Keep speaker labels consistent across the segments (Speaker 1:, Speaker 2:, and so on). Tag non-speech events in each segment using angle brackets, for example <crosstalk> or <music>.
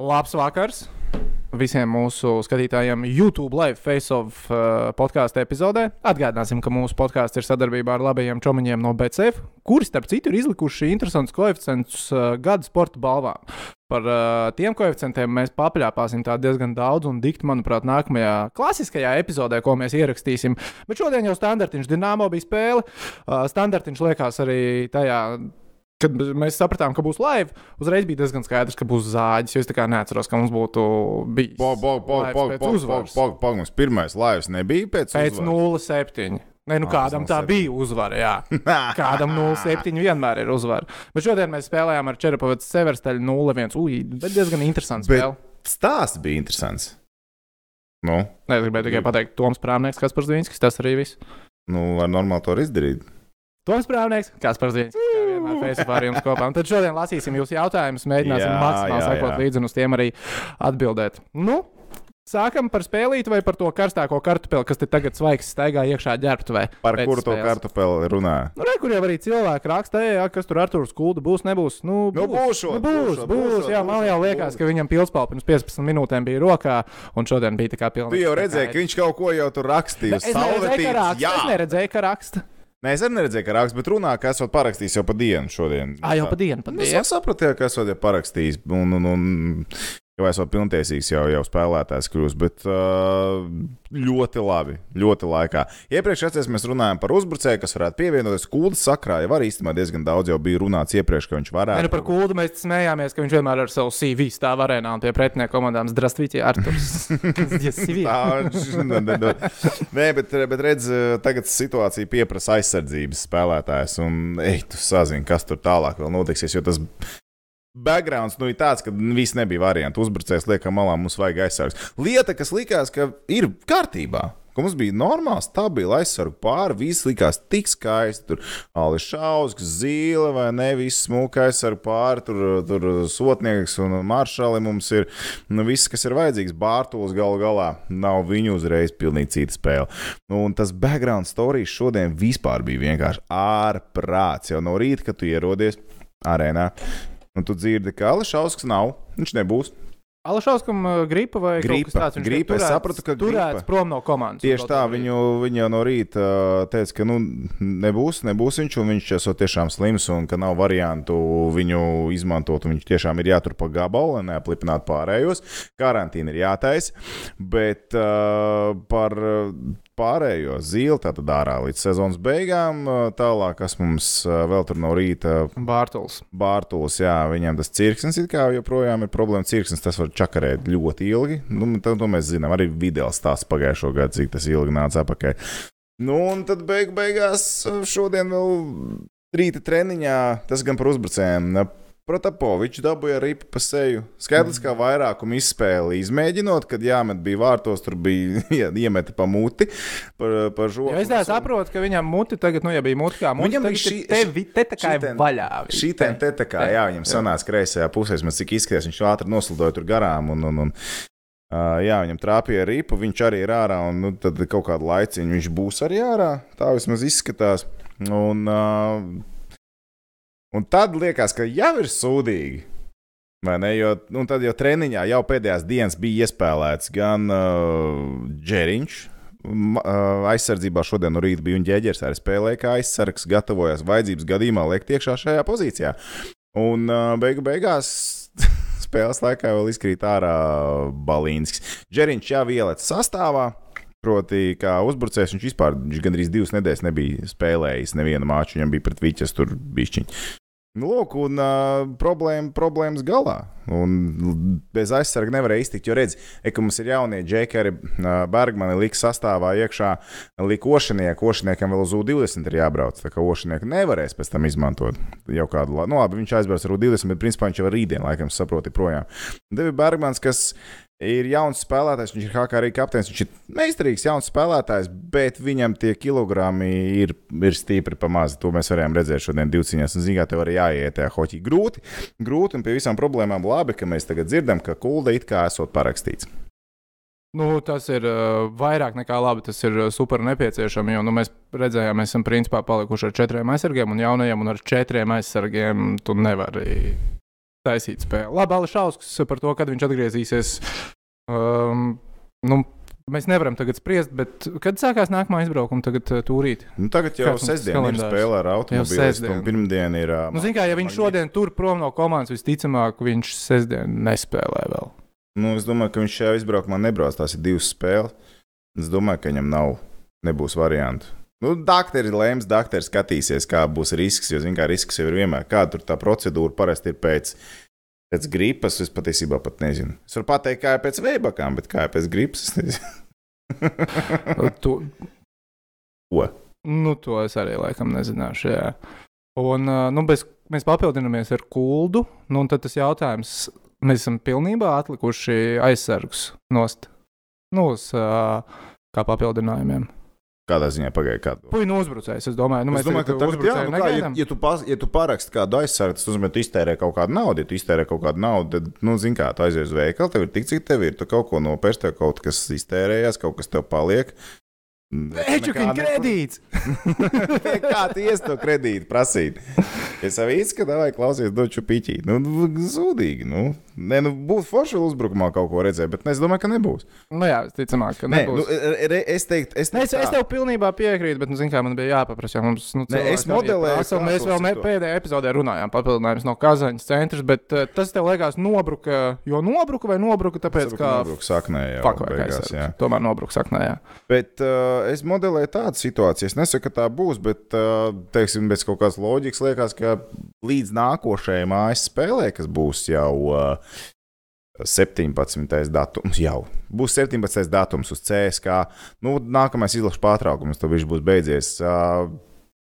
Speaker 1: Labs vakars visiem mūsu skatītājiem YouTube live face-off uh, podkāstu epizodē. Atgādināsim, ka mūsu podkāsts ir sadarbībā ar labajiem čomiņiem no BCF, kuri starp citu ir izlikuši interesantus koeficientus uh, gada sporta balvām. Par uh, tiem koeficientiem mēs papļāpāsim tā diezgan daudz un dikti, manuprāt, nākamajā klasiskajā epizodē, ko mēs ierakstīsim. Bet šodien jau standartiņš Dienāmo bija spēle. Uh, standartiņš liekas arī tajā kad mēs sapratām, ka būs live, uzreiz bija diezgan skaidrs, ka būs zāģis. Es tā kā neatceros, ka mums būtu bijis. lives pēc uzvaras.
Speaker 2: Pagaidām, pirmais laivs nebija pēc
Speaker 1: Pēc nu-
Speaker 2: <laughs>
Speaker 1: 0,7. Nē, nu
Speaker 2: Ah,
Speaker 1: kādam tā
Speaker 2: 0,7.
Speaker 1: bija uzvara. Jā. Kādam 0,7 vienmēr ir uzvara. Bet šodien mēs spēlējām ar Čerapavētas Severstaļu 0,1. Ui, bet diezgan interesants
Speaker 2: Bet-
Speaker 1: spēle.
Speaker 2: Stāsts bija interesants. Nu,
Speaker 1: Nē, es gribēju tikai pateikt, Toms Prāvnieks, kas par Zviņskis, tas arī viss.
Speaker 2: nu ar normālu to var izdarīt.
Speaker 1: Toms Prāvnieks, kas par Zviņskis, kā vienmēr Facebookā ar jums kopā. Un tad šodien lasīsim jūsu jautājumus, mēģināsim
Speaker 2: Jā,
Speaker 1: maksimāli
Speaker 2: jā, jā.
Speaker 1: sekot līdzi un uz tiem arī atbildēt. Nu, sākam par spēlīti vai par to karstāko kartupeli, kas te tagad svaigs staigā iekšā ģērbtuvē.
Speaker 2: Par
Speaker 1: pēc
Speaker 2: kuru to
Speaker 1: spēles.
Speaker 2: kartupeli runā?
Speaker 1: Nu, re, kur jau arī cilvēki raksta, jā, kas tur ar to skūdu būs, nebūs. Nu,
Speaker 2: Nu, būšot,
Speaker 1: nu, būs, būs,
Speaker 2: būšot,
Speaker 1: būs,
Speaker 2: būšot,
Speaker 1: jā, man jau
Speaker 2: būšot,
Speaker 1: liekas,
Speaker 2: būs.
Speaker 1: ka viņam pilspāle pirms 15 minūtēm bija rokā, un šodien bija tā kā pilnīgi.
Speaker 2: Tu jau redzēji, ka viņš kaut ko jau tur rakstīja.
Speaker 1: Es neredzēju, ka raksta.
Speaker 2: Jā,
Speaker 1: Es neredzēju, ka raksta.
Speaker 2: Nē, es arī neredzēju, ka raksts, bet runā, ka esmu parakstījis jau pa dienu šodien.
Speaker 1: Ā, jau pa dienu, pa
Speaker 2: Nu,
Speaker 1: dienu.
Speaker 2: Es sapratu, ka esmu jau parakstījis, un, un, un jau esmu pilntiesīgs, jau, jau spēlētājs kļūst, bet uh, ļoti labi, ļoti laikā. Iepriekš atceros, mēs runājām par uzbrucēju, kas varētu pievienoties kūdas sakrā, jau arī īstenībā diezgan daudz jau bija runāts iepriekš, ka viņš
Speaker 1: Nē,
Speaker 2: varētu.
Speaker 1: nu par kūdu mēs smējāmies, ka viņš vienmēr ar savu CV stāv arēnā un pie pretinieku komandām Zdravstvīķi
Speaker 2: <laughs>
Speaker 1: Arturs. Jā, CV.
Speaker 2: <laughs> Tā, ž- ne, ne, ne. Nē, bet, bet redz, tagad situācija pieprasa aizsardzības spēlētājs. Un, ej, tu sazini, kas tur tālāk vēl notiksies. Jo tas backgrounds nu, ir tāds, ka viss nebija variants. Uzbrucējs liekam malā, mums vajag aizsargs. Lieta, kas likās, ka ir kārtībā. ka Mums bija normāls, stabils aizsargu pāri. Viss likās tik skaisti. Tur Alis Šausks, Zīle vai ne, viss smūkais ar pāri. Tur, tur sotnieks un maršali mums ir. Nu, viss, kas ir vajadzīgs, Bārtulis galu galā nav viņu uzreiz pilnīgi cita spēle. Nu, un tas background story šodien vispār bija vienkārši ārprāts. Jau no rīta, kad tu ierodies arēnā, un tu dzirdi, ka Alis Šausks nav, viņš nebūs.
Speaker 1: Alašauskam uh, gripa vai kaut
Speaker 2: Gripa,
Speaker 1: kas tāds? Viņš tiek
Speaker 2: gripa, es
Speaker 1: turēts-
Speaker 2: sapratu, ka
Speaker 1: turēts
Speaker 2: gripa.
Speaker 1: prom no komandas.
Speaker 2: Tieši tā, viņu, viņa jau no rīta ā, teica, ka nu, nebūs, nebūs viņš, un viņš esot tiešām slims, un ka nav variantu viņu izmantot. un Viņš tiešām ir jātur pa gabalu, lai neaplipinātu pārējos. Karantīna ir jātaisa, bet ā, par ā, pārējo zīli tātad ārā līdz sezonas beigām. ā, Tālāk, kas mums ā, vēl tur no rīta
Speaker 1: Bārtuls.
Speaker 2: Bārtūlis, jā, viņam tas cirksnis it kā joprojām ir problēma. Cirksnis tas var čakarēt ļoti ilgi. Nu, to, to mēs zinām. Arī video stāsts pagājušo gadu, cik tas ilgi nāca apakai. Nu, un tad beig beigās eh, šodien vēl rīta treniņā, tas gan par uzbrucējiem. ne, Protapovičs dabūja ripu pa seju. Skaidrs,
Speaker 1: Mm.
Speaker 2: kā vairākumu izspēli izmēģinot, kad jāmet bija vārtos, tur bija <laughs> jā, iemeti pa muti, par, par žogu.
Speaker 1: Jo es tā saprotu, ka viņam muti tagad, nu, ja bija muti kā muti,
Speaker 2: Viņam
Speaker 1: tad
Speaker 2: bija
Speaker 1: šī
Speaker 2: šī-
Speaker 1: te, vi- te tā kā ir
Speaker 2: šiten-
Speaker 1: vaļā.
Speaker 2: Šī te te tā kā, jā, viņam sanāca kreisajā pusē, man cik izskatījās, viņš ātri noslidoja tur garām. Un, un, un, uh, jā, viņam trāpīja ripa, viņš arī ir ārā, un nu, tad kaut kādu laiciņu viņš būs arī ārā. Tā vismaz izskatās. Un, uh, un tad liekas, ka jau ir sūdīgi. vai Ne, jo, un tad jau treniņā jau pēdējās dienas bija iespēlēts gan uh, Džeriņš. Ma- ā, Aizsardzībā šodien no rīta bija un ģēģers arī spēlēja, kā aizsargs gatavojās vajadzības gadījumā liekt iekšā šajā pozīcijā. Un ā, beigu beigās <laughs> spēles laikā vēl izkrīt ārā Balīnskis. Džeriņš jau ielēca sastāvā. Proti, kā uzbrucējs, viņš vispār viņš gandrīz divas nedēļas nebija spēlējis. Nevienu maču viņam bija pret Vīķes, tur bija Nu, lūk, un uh, problēma, problēmas galā. Un l- bez aizsarga nevarēja iztikt. Jo redz, e, ka mums ir jaunie džeki, arī uh, Bergmani lika sastāvā iekšā, lika ošiniekam, ošiniekam vēl uz U20 ir jābrauc. Tā kā ošinieku nevarēs pēc tam izmantot jau kādu laiku. Nu, labi, viņš aizbrauc ar U20, bet principā viņš jau rītdien, laikam, saproti, projām. Devi Bergmans, kas ir jauns spēlētājs, viņš ir HK arī kapteinis, viņš ir meistarīgs jauns spēlētājs, bet viņam tie kilogrami ir, ir stipri pamazs. To mēs varējām redzēt šodien divciņās, un zīmē, tev arī jāiet tajā hoķī. Grūti, grūti, un pie visām problēmām labi, ka mēs tagad dzirdam, ka kulda it kā esot parakstīts.
Speaker 1: Nu, tas ir uh, vairāk nekā labi. Tas ir uh, super nepieciešami. Jo nu, mēs redzējām, mēs esam principā palikuši ar četriem aizsargiem un jaunajiem, un ar četriem aizsargiem tu nevari taisīt spēli. Labi, Ališauskas par to, kad viņš atgriezīsies. Um, nu, Mēs nevaram tagad spriest, bet kad sākās nākamā izbraukuma, tagad uh, tūrīt.
Speaker 2: Nu, tagad jau
Speaker 1: Kāds mums
Speaker 2: sestdiena ir
Speaker 1: kalendārs?
Speaker 2: spēlē ar automobilistu,
Speaker 1: sestdien.
Speaker 2: un pirmdiena ir. ā,
Speaker 1: Nu, zin kā, ja viņš šodien tur prom no komandas, visticamāk, viņš sestdien nespēlē vēl.
Speaker 2: Nu, es domāju, ka viņš šajā izbraukumā nebrauks. Tās ir divas spēles. Es domāju, ka viņam nav, nebūs variantu. Nu, dakteris lems, dakteris skatīsies, kā būs risks. Jo, zināmā mērā, risks jau ir vienmēr. Kāda tur tā procedūra parasti ir pēc, pēc gripas, es patiesībā pat nezinu. Es varu pateikt, kā ir pēc veibakām, bet kā ir pēc gripas, es nezinu.
Speaker 1: <laughs> Tu...
Speaker 2: Ko?
Speaker 1: Nu, to es arī laikam nezināšu. Jā. Un uh, nu, bez, mēs papildināmies ar kuldu. Nu, un tad tas jautājums, mēs esam pilnībā atlikuši aizsargus nost. Nu, uz, uh, kā papildinājumiem.
Speaker 2: Kādā ziņā pagāja kādu?
Speaker 1: Puikas no uzbrucējas, es domāju, nu,
Speaker 2: Nu,
Speaker 1: mēs
Speaker 2: es domāju, ka tagad, jā, nu kā, ja,
Speaker 1: negaidām.
Speaker 2: ja tu, pas- ja tu paraksti kādu aizsardzību, tas nozīmē, ka tu iztērē kaut kādu naudu. Ja tu iztērē kaut kādu naudu, tad, nu, zini, kā tu aizies uz veikalu, tev ir tik, cik tev ir. Tu kaut ko nopērci, tev kaut kas iztērējās, kaut kas tev paliek. Mm,
Speaker 1: Ečukiņa kredīts!
Speaker 2: <laughs> Kā tu iesi to kredītu prasīt? Es jau izskatu, vai klausies, došu piķīt. Nu, zudīgi. Nu. Nē, nu, būtu forši vēl uzbrukumā kaut ko redzēt, bet es domāju, ka nebūs.
Speaker 1: Nu, jā, ticamāk, ka
Speaker 2: Nē,
Speaker 1: nebūs.
Speaker 2: nu, re, re, es teiktu, es
Speaker 1: Nē, Nu, es,
Speaker 2: teiktu
Speaker 1: es
Speaker 2: tā.
Speaker 1: tev pilnībā piekrītu, bet, nu, zini, kā man bija jāpaprasa. Jā, mums, nu,
Speaker 2: Nē, es modelēju
Speaker 1: esam, mēs
Speaker 2: krāsos
Speaker 1: vēl ne,
Speaker 2: ar to.
Speaker 1: pēdējā epizodē runājām, papildinājums no Kazaņas centra, bet uh, tas tev liekas nobruka, jo nobruka vai nobruka, tāpēc,
Speaker 2: Saprotu,
Speaker 1: ka
Speaker 2: nobruks saknē jau
Speaker 1: fuck vai
Speaker 2: beigās, jā.
Speaker 1: kaisars. Tomēr nobruka saknē, jā.
Speaker 2: Bet uh, es modelēju tādu situāciju. Es nesaku, ka tā būs, bet uh, teiksim, bez kaut kādas loģikas liekas, ka līdz nākošajai mājas spēlē, kas būs jau uh, 17. datums, jau būs 17. datums uz CSK, nu, nākamais izlaša pārtraukums, tad viņš būs beidzies. Uh,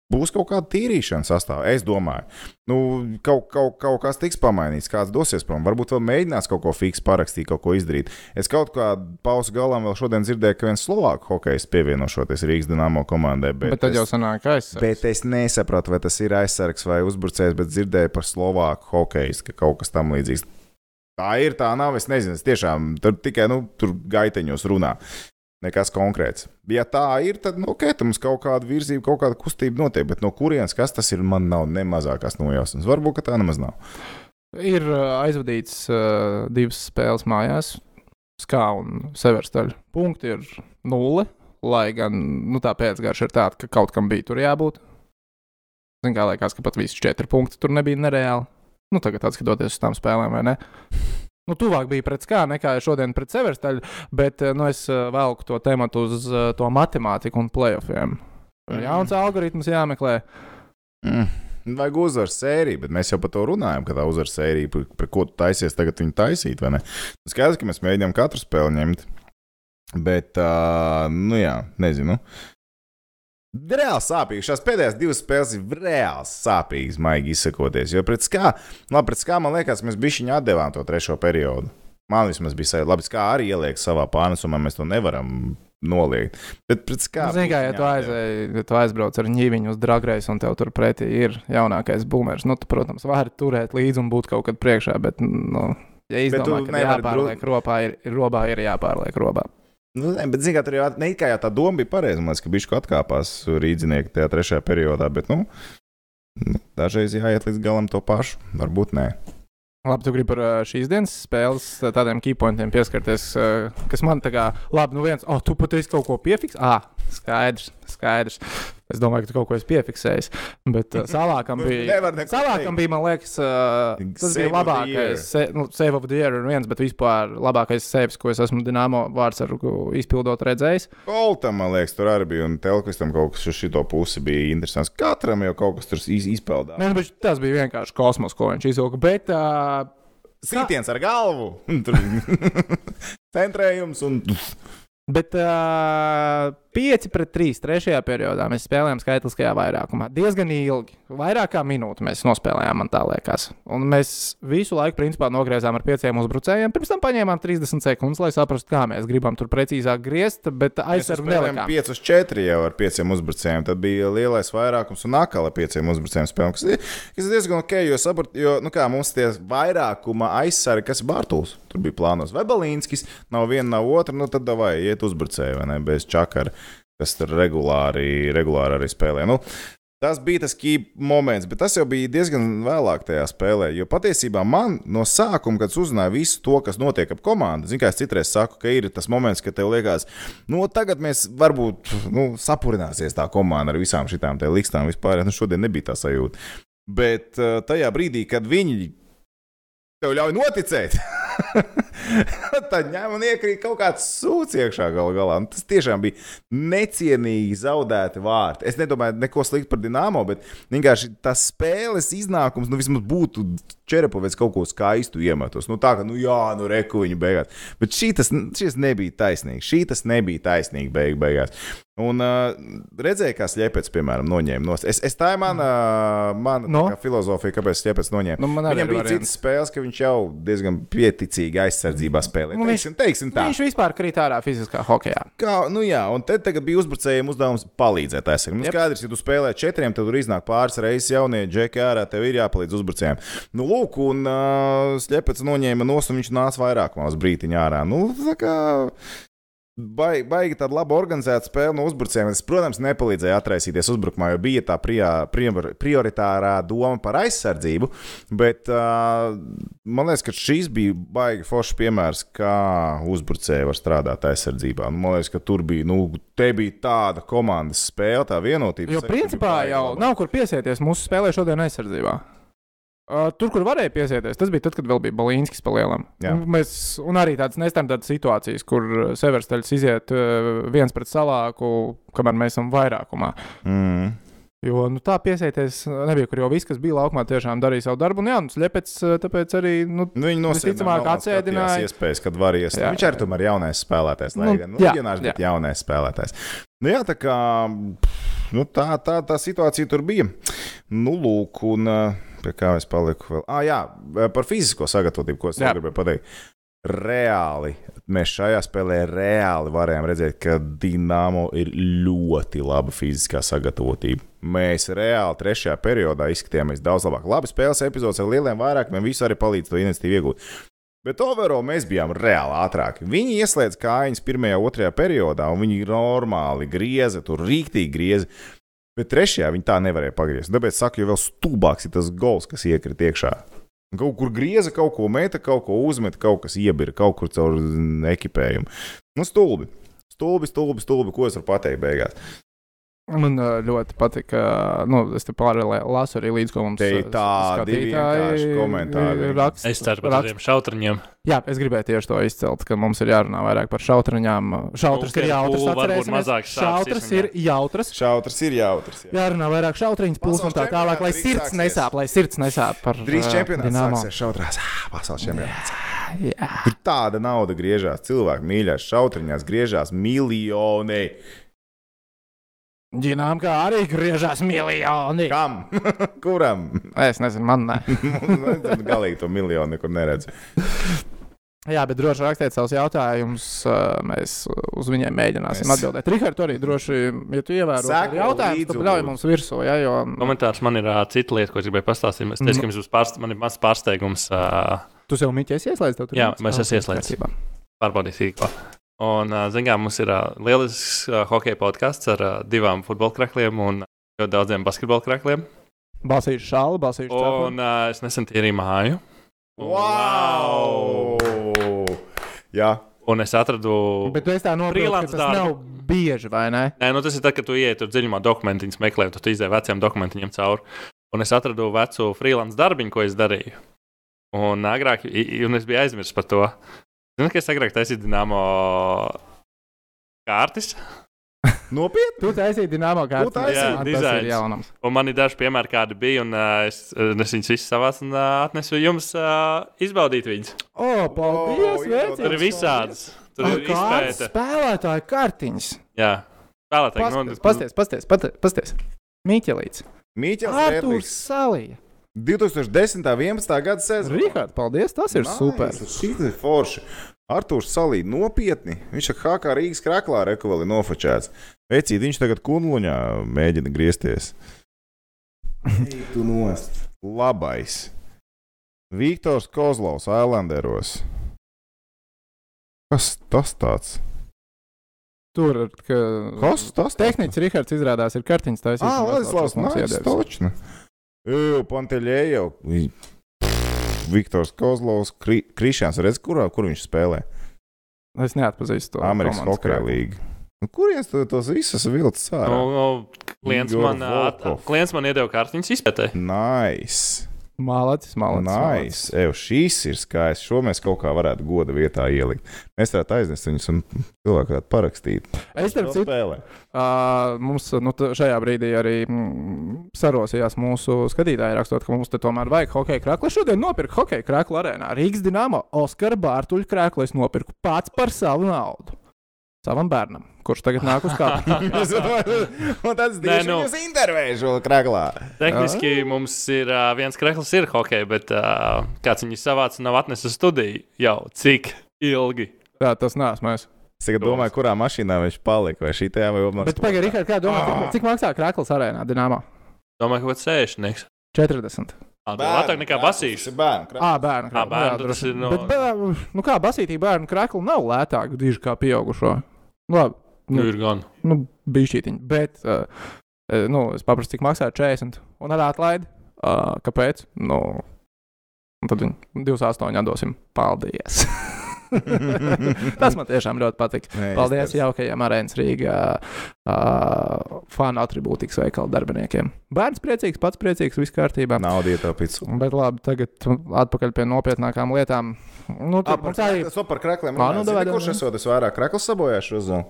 Speaker 2: Būs kaut kāda tīrīšana sastāvā, es domāju. Nu, kaut, kaut, kaut kas tiks pamainīts, kāds dosies prom. Varbūt vēl mēģinās kaut ko fiksu parakstīt, kaut ko izdarīt. Es kaut kādā pauzē galā vēl šodien dzirdēju, ka viens slovāku hokejs pievienošoties Rīgas dīnāmo komandai. Bet,
Speaker 1: Bet, bet tad
Speaker 2: es,
Speaker 1: jau sanāk aizsargs.
Speaker 2: bet es nesapratu, vai tas ir aizsargs vai uzbrucējs, bet dzirdēju par slovāku hokeju, ka kaut kas tam līdzīgs. Tā ir, tā nav. Es nezinu, es tiešām tur tikai nu, tur gaiteņos runā. Nekas konkrēts. Ja tā ir, tad, nu, ok, tur mums kaut kāda virzība, kaut kāda kustība notiek, bet no kurienes kas tas ir, man nav ne mazākās nojausmas. Varbūt, ka tā nemaz nav.
Speaker 1: Ir uh, aizvadīts uh, divas spēles mājās. Skā un severstaļa punkti ir nulle. Lai gan nu, tā pēcgārša ir tāda, ka kaut kam bija tur jābūt. Zin kā liekas, ka pat visi četri punkti tur nebija nereāli. Nu, tagad atskatoties uz tām spēlēm, vai ne? Nu, tuvāk bija pret skā nekā šodien pret severstaļu, bet uh, nu, es uh, velku to tematu uz uh, to matemātiku un playoffiem.
Speaker 2: Mm.
Speaker 1: Jauns algoritms jāmeklē.
Speaker 2: Mm. Vajag uzvaru sēriju, bet mēs jau par to runājam, ka tā uzvaru sērija, par, par ko tu taisies tagad viņu taisīt, vai ne? Nu, Skaidrs, ka mēs mēģinām katru spēli ņemt. Bet, uh, nu jā, nezinu. Reāli sāpīgi. Šās pēdējās divas spēles ir reāli sāpīgas, maigi izsakoties. Jo pret skā, labi, pret skā man liekas, mēs bišķiņā atdevām to trešo periodu. Man vismaz bija sajūta, labi, kā arī ieliek savā pārnesumā, mēs to nevaram noliegt. Bet pret skā.
Speaker 1: Nu, Zini, kā, ja tu,
Speaker 2: bišķiņā atdevām.
Speaker 1: aizēji, ja tu aizbrauc ar ņīviņu uz dragrēs, un tev tur pretī ir jaunākais būmers, nu, tu, protams, vari turēt līdzi un būt kaut kad priekšā, bet, nu, ja izdomā,
Speaker 2: tu
Speaker 1: ka
Speaker 2: nevari
Speaker 1: jāpārliek robā, ir, ir robā, ir jāpārliek robā.
Speaker 2: Nu, nē, bet, zināmā mērā, tur jau ne tikai tā doma bija pareiza. Man liekas, ka bišķi atkāpās rīznieki tajā trešajā periodā, bet, nu, nu, dažreiz jāiet līdz galam to pašu. Varbūt nē.
Speaker 1: Labi, tu gribi par ā, šīs dienas spēles ā, tādiem keypointiem pieskarties, ā, kas man tā kā, labi, nu viens, oh, tu pateici kaut ko piefiks? Ā, skaidrs, skaidrs. Es domāju, ka tu kaut ko esi piefiksējis, bet
Speaker 2: <laughs>
Speaker 1: ā, salākam bija...
Speaker 2: Nevar neko
Speaker 1: Salākam
Speaker 2: teikt.
Speaker 1: bija, man liekas, uh, tas
Speaker 2: Save
Speaker 1: bija
Speaker 2: of the year.
Speaker 1: labākais. se- Nu, save of the year ir viens, bet vispār labākais saves, ko es esmu Dienāmo vārdsargu izpildot redzējis.
Speaker 2: Koltam, man liekas, tur arī bija, un Telkvistam kaut kas uz šito pusi bija interesants. Katram jau kaut kas tur iz, izpeldās.
Speaker 1: Ne, nu, bet tas bija vienkārši kosmos, ko viņš izvilka. Bet uh,
Speaker 2: Sītiens ar galvu! Un tur <laughs> Centrējums un.
Speaker 1: Bet uh, 5 pret 3. trešajā periodā mēs spēlējām skaitliskajā vairākumā. Diezgan ilgi, vairāk kā minūti mēs nospēlējām, man tā liekas. Un mēs visu laiku, principā, nogriezām ar pieciem uzbrucējiem. Pirms tam paņēmām 30 sekundes, lai saprastu, kā mēs gribam tur precīzāk griezt, bet aizsargu
Speaker 2: Spēlējām
Speaker 1: nelikām.
Speaker 2: 5 uz 4 jau ar 5 uzbrucējiem. Tad bija lielais vairākums un akāla 5 uzbrucējiem spēlēm. Kas, ir- kas ir diezgan ok, jo, saprat, jo nu kā, mums tie vairākuma aizsargi, kas ir Bārtūs, tur bija plānos Vebalīnskis, nav viena, nav otra, nu tad vai iet uzbrucēji vai ne, bez čakara, kas tur regulāri, regulāri arī spēlē. Nu, Tas bija tas key moments, bet tas jau bija diezgan vēlāk tajā spēlē. Jo patiesībā man no sākuma, kad uzzināju visu to, kas notiek ap komandu, zinu, kā es citreiz saku, ka ir tas moments, kad tev liekas, nu, tagad mēs varbūt nu, sapurināsies tā komanda ar visām šīm likstām vispār. Nu, šodien nebija tā sajūta. Bet uh, tajā brīdī, kad viņi tev ļauj noticēt, <laughs> tad ņem un iekrīt kaut kāds sūds iekšā gal galā. Nu, tas tiešām bija necienīgi zaudēti vārti. Es nedomāju neko sliktu par Dienāmo, bet vienkārši tas spēles iznākums, nu vismaz būtu Čerepovets kaut ko skaistu iemetos. Nu tā, ka, nu jā, nu reku viņu beigās. Bet šī tas, šis nebija taisnīgi. Šī tas nebija taisnīgi beig beigās. Un uh, redzēju, kā slēpjas, piemēram, noņēma no savas. Es, es tā ir mana, mana
Speaker 1: No?
Speaker 2: no? kā filozofija, kāpēc slēpjas noņēma.
Speaker 1: Nu, man arī ir
Speaker 2: Viņam bija
Speaker 1: variants.
Speaker 2: citas spēles, ka viņš jau diezgan pieticīgi aizsardzībā spēlē.
Speaker 1: Nu,
Speaker 2: Nu,
Speaker 1: viņš-
Speaker 2: teiksim, teiksim tā.
Speaker 1: Viņš vispār krīt ārā fiziskā hokeja.
Speaker 2: Kā, nu jā, un te tagad bija uzbrucējiem uzdevums palīdzēt aizsargam. Nu,
Speaker 1: Jep.
Speaker 2: skaidrs, ja tu spēlē četriem, tad tur iznāk pāris reizes jaunie džeki ārā, tev ir jāpalīdz uzbrucējiem. Nu, lūk, un uh, Slepets noņēma nos, un viņš nāca vairākumā uz brītiņu ārā. Nu, tā kā... Bai, baigi tāda laba organizēta spēle no uzbrucējiem. Tas, protams, nepalīdzēja atraisīties uzbrukumā, jo bija tā prijā, prior, prioritārā doma par aizsardzību. Bet uh, man liekas, ka šis bija baigi foršs piemērs, kā uzbrucēji var strādāt aizsardzībā. Nu, man liekas, ka tur bija, nu, te bija tāda komandas spēle, tā vienotība.
Speaker 1: Jo principā jau nu, nav kur piesieties mūsu spēlē šodien aizsardzībā. Uh, tur, kur varēja piesieties, tas bija tad, kad vēl bija Balīņskis pa lielam.
Speaker 2: Jā.
Speaker 1: Un Mēs, un arī tādas nestandarta situācijas, kur uh, Severstaļs iziet uh, viens pret salāku, kamēr mēs esam vairākumā.
Speaker 2: Mm.
Speaker 1: Jo nu, tā piesieties uh, nebija, kur jau viss, kas bija laukumā, tiešām darīja savu darbu. Un jā, nu, Slepets, uh, tāpēc arī, nu,
Speaker 2: Nu, viņi
Speaker 1: Visticamāk, atsēdināja.
Speaker 2: iespējas, kad var iestāties.
Speaker 1: Jā.
Speaker 2: Viņš arī tomēr ir jaunais spēlētājs. Lai
Speaker 1: Nu,
Speaker 2: gan nu,
Speaker 1: jā,
Speaker 2: leģionārs, bet
Speaker 1: jā.
Speaker 2: jaunais spēlētājs. Nu, jā, tā kā pff, nu, tā, tā, tā situācija tur bija. Nu, lūk, un eh, pie kā es paliku vēl. Ah, jā, par fizisko sagatavotību, ko es
Speaker 1: Jā.
Speaker 2: vēl gribēju pateikt. Reāli mēs šajā spēlē reāli varējām redzēt, ka Dienāmo ir ļoti laba fiziskā sagatavotība. Mēs reāli trešajā periodā izskatījāmies daudz labāk. Labi spēles epizodes ar lieliem vairākumiem, visu arī palīdz to iniciatīvu iegūt. Bet overall mēs bijām reāli ātrāki. Viņi ieslēdz kājas pirmajā, otrajā periodā, un viņi normāli grieza, tur rīktīgi grieza. Bet trešajā viņi tā nevarēja pagriezt. Tāpēc saku, jo vēl stulbāks ir tas gols, kas iekrita iekšā. Kaut kur grieza, kaut ko meta, kaut ko uzmeta, kaut kas iebira, kaut kur caur mm, ekipējumu. Nu, stulbi. Stulbi, stulbi, stulbi. Ko es varu pateikt beigās?
Speaker 1: Man ā, ļoti patīk, ka nu, es te pārlēju, lasu arī līdzi, ko mums
Speaker 2: Te
Speaker 1: ā,
Speaker 2: ir tādi
Speaker 1: skatītāji
Speaker 2: vienkārši komentāri.
Speaker 1: Rakst,
Speaker 3: Es ceru, ka
Speaker 1: rakst,
Speaker 3: tādiem šautriņiem
Speaker 1: jā, es gribēju tieši to izcelt, ka mums ir jārunā vairāk par šautraņām. Šautras
Speaker 3: Nu,
Speaker 1: ir jautras,
Speaker 3: varbūt
Speaker 1: atcerēsimies.
Speaker 3: mazāk šāds
Speaker 1: Šautras ir
Speaker 3: izsmeļ.
Speaker 1: jautras.
Speaker 2: Šautrs ir jautrs. Jā.
Speaker 1: Jārunā vairāk šautriņas pūles un tā
Speaker 2: Pasaules
Speaker 1: tālāk, lai
Speaker 2: čempionāts
Speaker 1: sirds
Speaker 2: drīz
Speaker 1: nesāp, lai sirds nesāp par
Speaker 2: Drīz
Speaker 1: ā,
Speaker 2: čempionāts
Speaker 1: Dinamo.
Speaker 2: sāksies šautrās. Ah, Pasaules čempionāts.
Speaker 1: Jā.
Speaker 2: Tur tāda nauda griežās, cilvēki mīļās, šautriņās griežās miljoni.
Speaker 1: Ģinām, kā arī griežās miljoni.
Speaker 2: Kam? <laughs> Kuram?
Speaker 1: Es nezinu, man ne. <laughs>
Speaker 2: Tad galīgi to miljonu nekur neredz.
Speaker 1: Jā, bet droši rakstiet savus jautājumus. ā, Mēs uz viņiem mēģināsim mēs...
Speaker 2: Mēs-
Speaker 1: atbildēt. Rihards, arī droši, ja tu ievēro
Speaker 2: Seko
Speaker 1: jautājumus,
Speaker 2: līdzi,
Speaker 1: tad ļauj
Speaker 2: lūdzu.
Speaker 1: mums virsū. Ja, jo...
Speaker 3: komentārs man ir uh, cita lieta, ko es gribēju pastāstīt. Es
Speaker 1: Nu-
Speaker 3: teicu, ka jums būs pārsteigums, man ir mazs pārsteigums. Uh,
Speaker 1: Tu jau mīķi esi ieslēdzis, tev tur
Speaker 3: Jā,
Speaker 1: ir-
Speaker 3: mēs esam ieslēdzis.
Speaker 1: Kārtībā.
Speaker 3: pārbaudīt īkā. Un, uh, zināmā mērā, mums ir uh, lielisks uh, hockey podkāsts ar uh, divām futbola krākliem un ļoti daudziem basketbola krākliem.
Speaker 1: Balsīšu šālu, balsīšu tādu.
Speaker 3: Un uh, es nesen tīrīju māju. Un-
Speaker 2: Wow! Jā,
Speaker 3: Un es atradu.
Speaker 1: Bet tu esi tā nopietni,
Speaker 3: Freelance
Speaker 1: ka tas
Speaker 3: darbu.
Speaker 1: nav bieži, vai ne?
Speaker 3: Nē, nu tas ir tad, kad tu ienāc tur dziļumā, dokumentiņus meklē, un tu izdēvi veciem dokumentiņiem cauri. Un es atradu vecu freelance darbiņu, ko es darīju. Un agrāk, i- i- un es biju aizmirsis par to. Zinu, ka es agrāk taisīju dināmo kārtas,
Speaker 2: nopietni!
Speaker 1: Tu taisīji dināmo kārtu.
Speaker 2: taisīji?
Speaker 3: Jā,
Speaker 1: tas ir
Speaker 3: dizains.
Speaker 1: jaunums.
Speaker 3: un man ir daži piemēri, kādi bija, un uh, es, eh, es viņus visus savās un uh, atnesu jums uh, izbaudīt viņus.
Speaker 1: O, paldies,
Speaker 2: O,
Speaker 1: veicis!
Speaker 3: Tur ir visādas.
Speaker 1: Ah,
Speaker 3: Tur ir
Speaker 1: Kādas
Speaker 3: izpēta.
Speaker 1: spēlētāju kartiņas?
Speaker 3: Jā, spēlētāji. nu,
Speaker 1: Pasties, pasties, pasties, pasties, pasties. Mīķelīts.
Speaker 2: Mīķels
Speaker 1: Artūrs
Speaker 2: Rētlīgs,
Speaker 1: Salija.
Speaker 2: 2010. un 11. gada sezonā.
Speaker 1: Rihard, paldies, tas ir super.
Speaker 2: Šis ir forši. Artūrs Salī, nopietni. Viņš ir Hakā Rīgas krāklā rekuveli nofočēts. Vecīt, viņš tagad kunluņā mēģina griezties. Ej, tu nost. Labais. Viktors Kozlovs, Ailanderos. Kas tas tāds?
Speaker 1: Tur ir ka...
Speaker 2: Kas tas Ah,
Speaker 1: tehnicis, Rihards, izrādās, ir kartiņas taisījis.
Speaker 2: А, Владислав, знаешь, точно. Э, Пантелеев. и- Viktors Kozlovs, Kri Krišjāns, redz, kurā, kur viņš spēlē?
Speaker 1: Es neatpazīstu to.
Speaker 2: Amerikas
Speaker 1: komandas
Speaker 2: Hokeja
Speaker 1: krājumu.
Speaker 2: līnija. Nu, kurienes tu tos visus vilcis
Speaker 3: No,
Speaker 2: ārā?
Speaker 3: no, nu, klients,
Speaker 2: Igor
Speaker 3: man, at,
Speaker 2: Volkov.
Speaker 3: klients man iedeva
Speaker 2: <laughs>
Speaker 3: kartiņas izpētē. <laughs>
Speaker 2: Nice!
Speaker 1: Malacis, malacis. malacis.
Speaker 2: Nice. Ev, šīs ir skaistas. Šo mēs kaut kā varētu goda vietā ielikt. Mēs varētu aiznest viņus un cilvēku varētu parakstīt.
Speaker 1: Es starp citu,
Speaker 2: <laughs> spēlē.
Speaker 1: ā, mums nu, t- šajā brīdī arī mm, sarosījās mūsu skatītāji, rakstot, ka mums te tomēr vajag hokeja krāklu. Es šodien nopirku hokeja krāklu arēnā. Rīgas dīnāma Oskara Bārtuļa krāklu es nopirku pats par savu naudu. Savam bērnam, kurš tagad nāk uz kāpņu.
Speaker 2: Tas
Speaker 3: Nē,
Speaker 2: bija
Speaker 3: nu.
Speaker 2: grūti. Intervēju šo kraklā.
Speaker 3: Tehniski mums ir uh, viens krāklis, ir hockey, bet uh, kāds viņu savāca, nav atnesis studiju jau cik ilgi.
Speaker 1: Tā tas nesmu es.
Speaker 2: Es tagad domāju, kurā mašīnā viņš palika. Vai šī tajā vai otrā?
Speaker 1: Bet pagaidi, Rikārd, kā domā, cik, cik maksā krāklis arēnā dīnāmā?
Speaker 3: Domāju, ka kaut kas sēžnieks.
Speaker 1: 40.
Speaker 3: Lētāk nekā basīšu.
Speaker 2: Bērnu.
Speaker 1: Ā, bērnu
Speaker 3: Ā, bērnu, tad tas ir no-
Speaker 1: Bet, bet, nu kā basītī bērnu krāklu nav lētāk diži kā pieaugušo. Nu, Labi.
Speaker 3: Nu, ir gan.
Speaker 1: nu, bija šķītiņa. Bet, uh, uh, nu, es paprastu, cik maksā 40 un ar atlaidi. Uh, kāpēc? Nu, un tad viņi 28 atdosim. Paldies! Tas man tiešām ļoti patīk. Ah, Paldies jaukajiem arēnas Rīgā uh, fanu attribūtikas veikala darbiniekiem. Bērns priecīgs, pats priecīgs, viss kārtībā.
Speaker 2: Naudu ietaupīts.
Speaker 1: Bet labi, tagad atpakaļ pie nopietnākām lietām. Nu, tur, mums arī
Speaker 2: Es par
Speaker 1: Ā,
Speaker 2: krakliem
Speaker 1: nu,
Speaker 2: runāju.
Speaker 1: davai,
Speaker 2: Zini, Kurš
Speaker 1: davai.
Speaker 2: esot? Es vairāk kraklu sabojāšu uz zonu.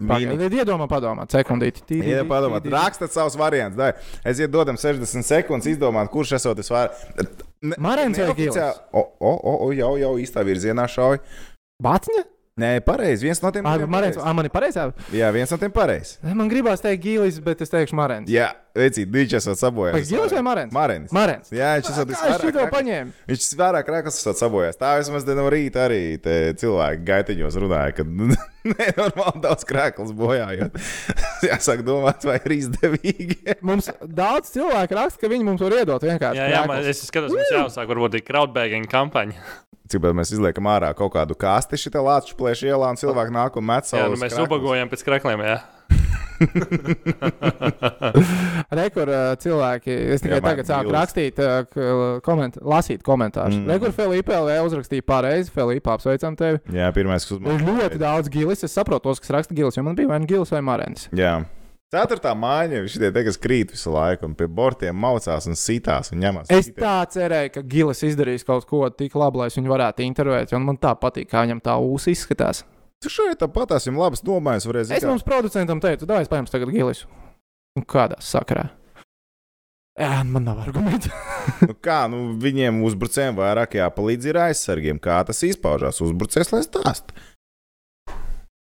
Speaker 1: pagaidi, iedomā padomāt, sekundīti. Tīri,
Speaker 2: Jā,
Speaker 1: tīri,
Speaker 2: padomā,
Speaker 1: tīri.
Speaker 2: rakstot savus variantus. Dai. Es iet dodam 60 sekundes, izdomāt, kurš esot es varu.
Speaker 1: Marens vai Gilis?
Speaker 2: O, o, o, o, jau, jau īstā virzienā šauj.
Speaker 1: Bāciņa?
Speaker 2: Nē, pareizi. Viens no tiem
Speaker 1: Ai,
Speaker 2: diviem
Speaker 1: Marens,
Speaker 2: pareizi.
Speaker 1: ai, man ir pareizā.
Speaker 2: Jā, viens no tiem pareizi.
Speaker 1: Man gribās teikt Gilis, bet es teikšu Marens.
Speaker 2: Jā, redzīt, viņš esot
Speaker 1: Vai
Speaker 2: sabojājis.
Speaker 1: Gilis vai Marens?
Speaker 2: Marins.
Speaker 1: Marens.
Speaker 2: Jā, viņš esot
Speaker 1: Kā es
Speaker 2: visvairāk.
Speaker 1: šito
Speaker 2: krak-
Speaker 1: paņēmu?
Speaker 2: Viņš vairāk krāklas esot sabojājis. Tā vismaz te no rīta arī te cilvēki gaitiņos runāja, ka nu, <laughs> nenormāli daudz krāklas bojājot. <laughs> Jāsāk domāt, vai ir izdevīgi.
Speaker 1: Mums daudz cilvēku raksta, ka viņi mums var iedot vienkārši.
Speaker 3: Jā, jā man,
Speaker 1: krēklus.
Speaker 3: es skatos, mums jāuzsāk varbūt ir crowdbagging kampaņa.
Speaker 2: Cik tālu mēs izliekam ārā kaut kādu kāsti šitā lāču plēšu ielā, un cilvēki nāk un met savu.
Speaker 3: Jā, nu, mēs ubagojam pēc krākliem, jā.
Speaker 1: Rekur ā, cilvēki, es tikai
Speaker 2: Jā, man
Speaker 1: tagad sāku
Speaker 2: Gilis.
Speaker 1: rakstīt, ā, k- koment, lasīt komentārus. Mm.
Speaker 2: Mm.
Speaker 1: Rekur Filipa LV uzrakstīja pareizi, Filipa apsveicam tevi.
Speaker 2: Jā, pirmais, kas
Speaker 1: Ir ļoti daudz gilis, es saprotu tos, kas raksta gilis, jo man bija vai nu gilis vai marens.
Speaker 2: Jā. Ceturtā māja, viņš tie te, kas krīt visu laiku, un pie bortiem maucās un sitās un ņemās.
Speaker 1: Es
Speaker 2: Sitē.
Speaker 1: tā cerēju, ka Gilis izdarīs kaut ko tik labu, lai es viņu varētu intervēt. un Man tā patīk, kā viņam tā ūsas izskatās.
Speaker 2: Tu šeit patās, jums labas domājas, varēs
Speaker 1: Es mums producentam teicu, dāvāj, paņemsim tagad Gilis. Un kādā sakrā? Jā, man nav argumentu.
Speaker 2: Nu, kā, nu, viņiem uzbrucējiem vairāk jāpalīdz ir aizsargiem, kā tas izpaužās. Uzbrucējs, lai stāst.
Speaker 1: <laughs>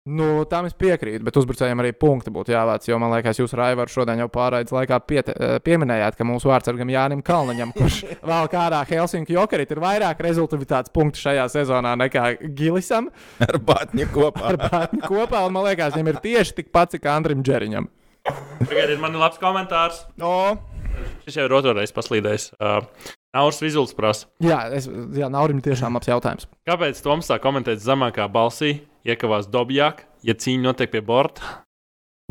Speaker 2: <laughs>
Speaker 1: nu, tam es piekrītu, bet uzbrucējiem arī punkti būtu jāvāc. Jo man liekas, jūs Raivar šodien jau pārraides laikā piete, eh, pieminējāt, ka mūsu vārdsargam Jānim Kalniņam, kurš vēl kādā Helsinku jokerit, ir vairāk rezultātu punktu šajā sezonā nekā Gilisam.
Speaker 2: Ar bātņu kopā.
Speaker 1: ar bērnu kopā. Un, man liekas, viņam ir tieši tikpat kā Andrim Džeriņam.
Speaker 3: Pagaidiet, man ir labs komentārs.
Speaker 2: No.
Speaker 3: Šis jau ir otrreiz paslīdējis. Uh, Nauris Vizuls prasa,
Speaker 1: Jā, es, jā Naurim tiešām labs jautājums.
Speaker 3: kāpēc Toms tā komentē zemākā balsī, iekavās dobjāk, ja cīņa notiek pie borta?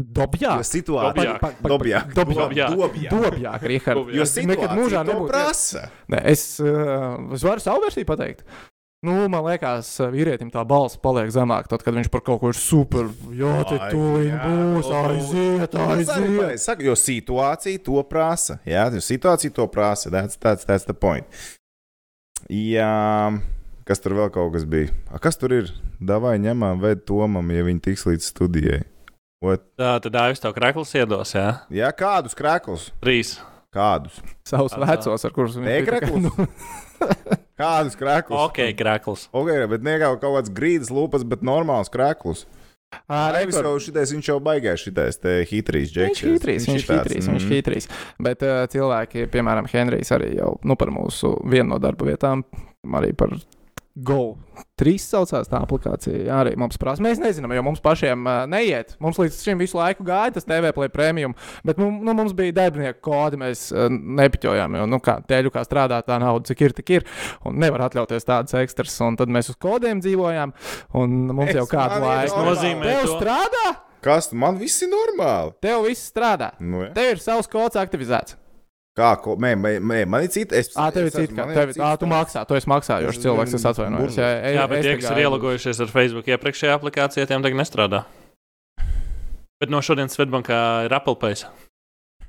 Speaker 1: Dobjā.
Speaker 2: Jo situācija.
Speaker 3: Dobjāk.
Speaker 2: Dobjāk.
Speaker 1: Dobjāk.
Speaker 2: Dobjāk.
Speaker 1: Dobjāk, Rihards.
Speaker 3: Dobjāk.
Speaker 2: Jo
Speaker 1: Es nekad
Speaker 2: situācija
Speaker 1: mūžā
Speaker 2: to
Speaker 1: nebūtu.
Speaker 2: prasa.
Speaker 1: Nē, es, uh, es varu savu versiju pateikt. Nu, man liekas, vīrietim tā balss paliek zemāka, tad, kad viņš par kaut ko ir super. Jā, te
Speaker 2: Ai,
Speaker 1: tūlīt
Speaker 2: jā,
Speaker 1: būs, aiziet,
Speaker 2: Tas arī
Speaker 1: aiziet.
Speaker 2: pareizi Saka, jo situācija to prasa. Jā, jo situācija to prasa. That's, that's, that's the point. Jā, kas tur vēl kaut kas bija? A, kas tur ir? Davai ņemam, ved tomam, ja viņi tiks līdz studijai. What?
Speaker 3: Tā tad dāvis tev krāklis iedos, jā.
Speaker 2: Jā, kādus krēklus?
Speaker 3: Trīs.
Speaker 2: Kādus?
Speaker 1: Savus vecos, ar kurus viņš bija Nu, tā kā-
Speaker 2: Nē, Kādus krēklus?
Speaker 3: Ok, krāklis.
Speaker 2: Ok, bet ne kaut, kaut kāds grīdas lupas, bet normāls krēklus.
Speaker 1: <laughs> Ā,
Speaker 2: Revis
Speaker 1: Rekord.
Speaker 2: jau šitais, viņš jau baigās šitais, te
Speaker 1: Viņš
Speaker 2: hitrīs, džeks.
Speaker 1: ir hitrīs, viņš ir hitrīs, viņš
Speaker 2: mhm. mm.
Speaker 1: ir hitrīs. Bet uh, cilvēki, piemēram, Henrijs arī jau nu, par mūsu vienu no darba vietām, arī par Go. Trīs saucās tā aplikācija. Jā, arī mums prasa. Mēs nezinām, jo mums pašiem uh, neiet. Mums līdz šim visu laiku gāja tas TV play premium, bet mums, nu, mums bija darbinieku kodi, mēs uh, nepiķojām. Jo, nu, kā tēļu kā strādā tā nauda, cik ir, tik ir. Un nevar atļauties tādas ekstras. Un tad mēs uz kodiem dzīvojām. Un mums
Speaker 2: Es-
Speaker 1: jau kādu
Speaker 2: man ir
Speaker 1: laiku.
Speaker 3: nozīmē
Speaker 1: Tev
Speaker 3: to-
Speaker 1: strādā?
Speaker 2: Kas man viss ir normāli?
Speaker 1: Tev viss strādā.
Speaker 2: Nu, ja.
Speaker 1: Tev ir savs kods aktivizēts.
Speaker 2: Kā, ko, mē, mē, mē, man ir cita. Es,
Speaker 1: Ā, tev ir
Speaker 2: es esmu-
Speaker 1: cits, kā
Speaker 2: man ir
Speaker 1: tev ir.
Speaker 2: cits
Speaker 1: Ā, tu
Speaker 2: tāds.
Speaker 1: maksā, tu esi maksājošs
Speaker 2: Es
Speaker 1: cilvēks,
Speaker 2: gan
Speaker 1: es atvainojos.
Speaker 2: burbuļs.
Speaker 1: e-
Speaker 3: Jā, bet
Speaker 1: es
Speaker 3: tie,
Speaker 1: te
Speaker 3: kas ir
Speaker 1: gāju-
Speaker 3: ielogojušies ar Facebook iepriekšējā aplikācijā, tiem tagad nestrādā. Bet no šodienas Svetbankā ir Apple Pay.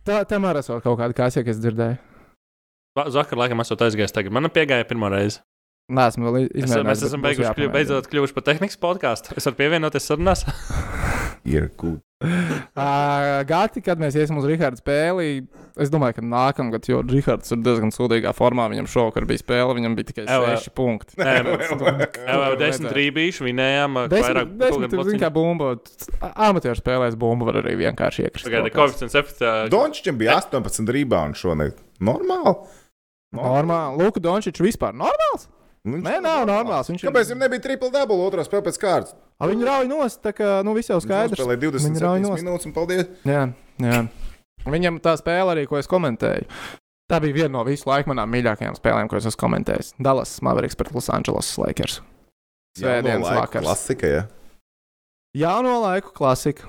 Speaker 1: Tā, tam arī ir kaut kāda kāsija, kas dzirdēja.
Speaker 3: Vakar, laikam, esot aizgājis tagad. Man piegāja pirmo reizi.
Speaker 1: Nē, esmu vēl
Speaker 3: Es,
Speaker 1: izmēģinājis.
Speaker 3: mēs
Speaker 1: bet
Speaker 3: esam
Speaker 1: būs
Speaker 3: beiguši, kļu,
Speaker 1: jāpamēģina.
Speaker 3: beidzot kļuvuši par tehnikas podkāstu. Es varu pievienoties
Speaker 1: <laughs>
Speaker 3: sarunās.
Speaker 2: Ir kūta.
Speaker 1: Ā, Gati, kad mēs iesim uz Rīgārdu spēli, es domāju, ka nākamgad, jo Rīgārds ir diezgan sūdīgā formā, viņam šovakar bija spēle, viņam bija tikai
Speaker 3: Ev, ev.
Speaker 1: 6 punkti.
Speaker 3: Nē, mēs jau
Speaker 1: Tur vajadzētu.
Speaker 3: desmit rībīšu vinējām. ā, Vairāk
Speaker 1: Desmit, desmit
Speaker 3: pulkgadu
Speaker 1: zini, kā
Speaker 3: lociņu.
Speaker 1: bumba. Amatieru spēlēs bumbu var arī vienkārši iekrist.
Speaker 3: Pagaidi,
Speaker 1: rokās.
Speaker 3: koeficients efekts.
Speaker 2: Dončičam bija 18 rebounds šonakt. Normāli?
Speaker 1: Normāli. Luka Dončičs vispār normāls?
Speaker 2: Viņš
Speaker 1: Nē, nav normāls. Viņš ir-
Speaker 2: Kāpēc viņam nebija triple double otrā spēlē pēc kārtas?
Speaker 1: A, Viņi rauj nost, tā kā, nu, viss jau skaidrs.
Speaker 2: Spēlē
Speaker 1: Viņi rauj
Speaker 2: 27
Speaker 1: nost.
Speaker 2: minūtes un paldies.
Speaker 1: Jā, jā. Viņam tā spēle arī, ko es komentēju. Tā bija viena no visu laiku manām mīļākajām spēlēm, ko es esmu komentējis. Dallas Mavericks pret Los Angeles Lakers. Svētdienas
Speaker 2: Jauno laiku
Speaker 1: vakars.
Speaker 2: Klasika, jā.
Speaker 1: Jauno laiku klasika.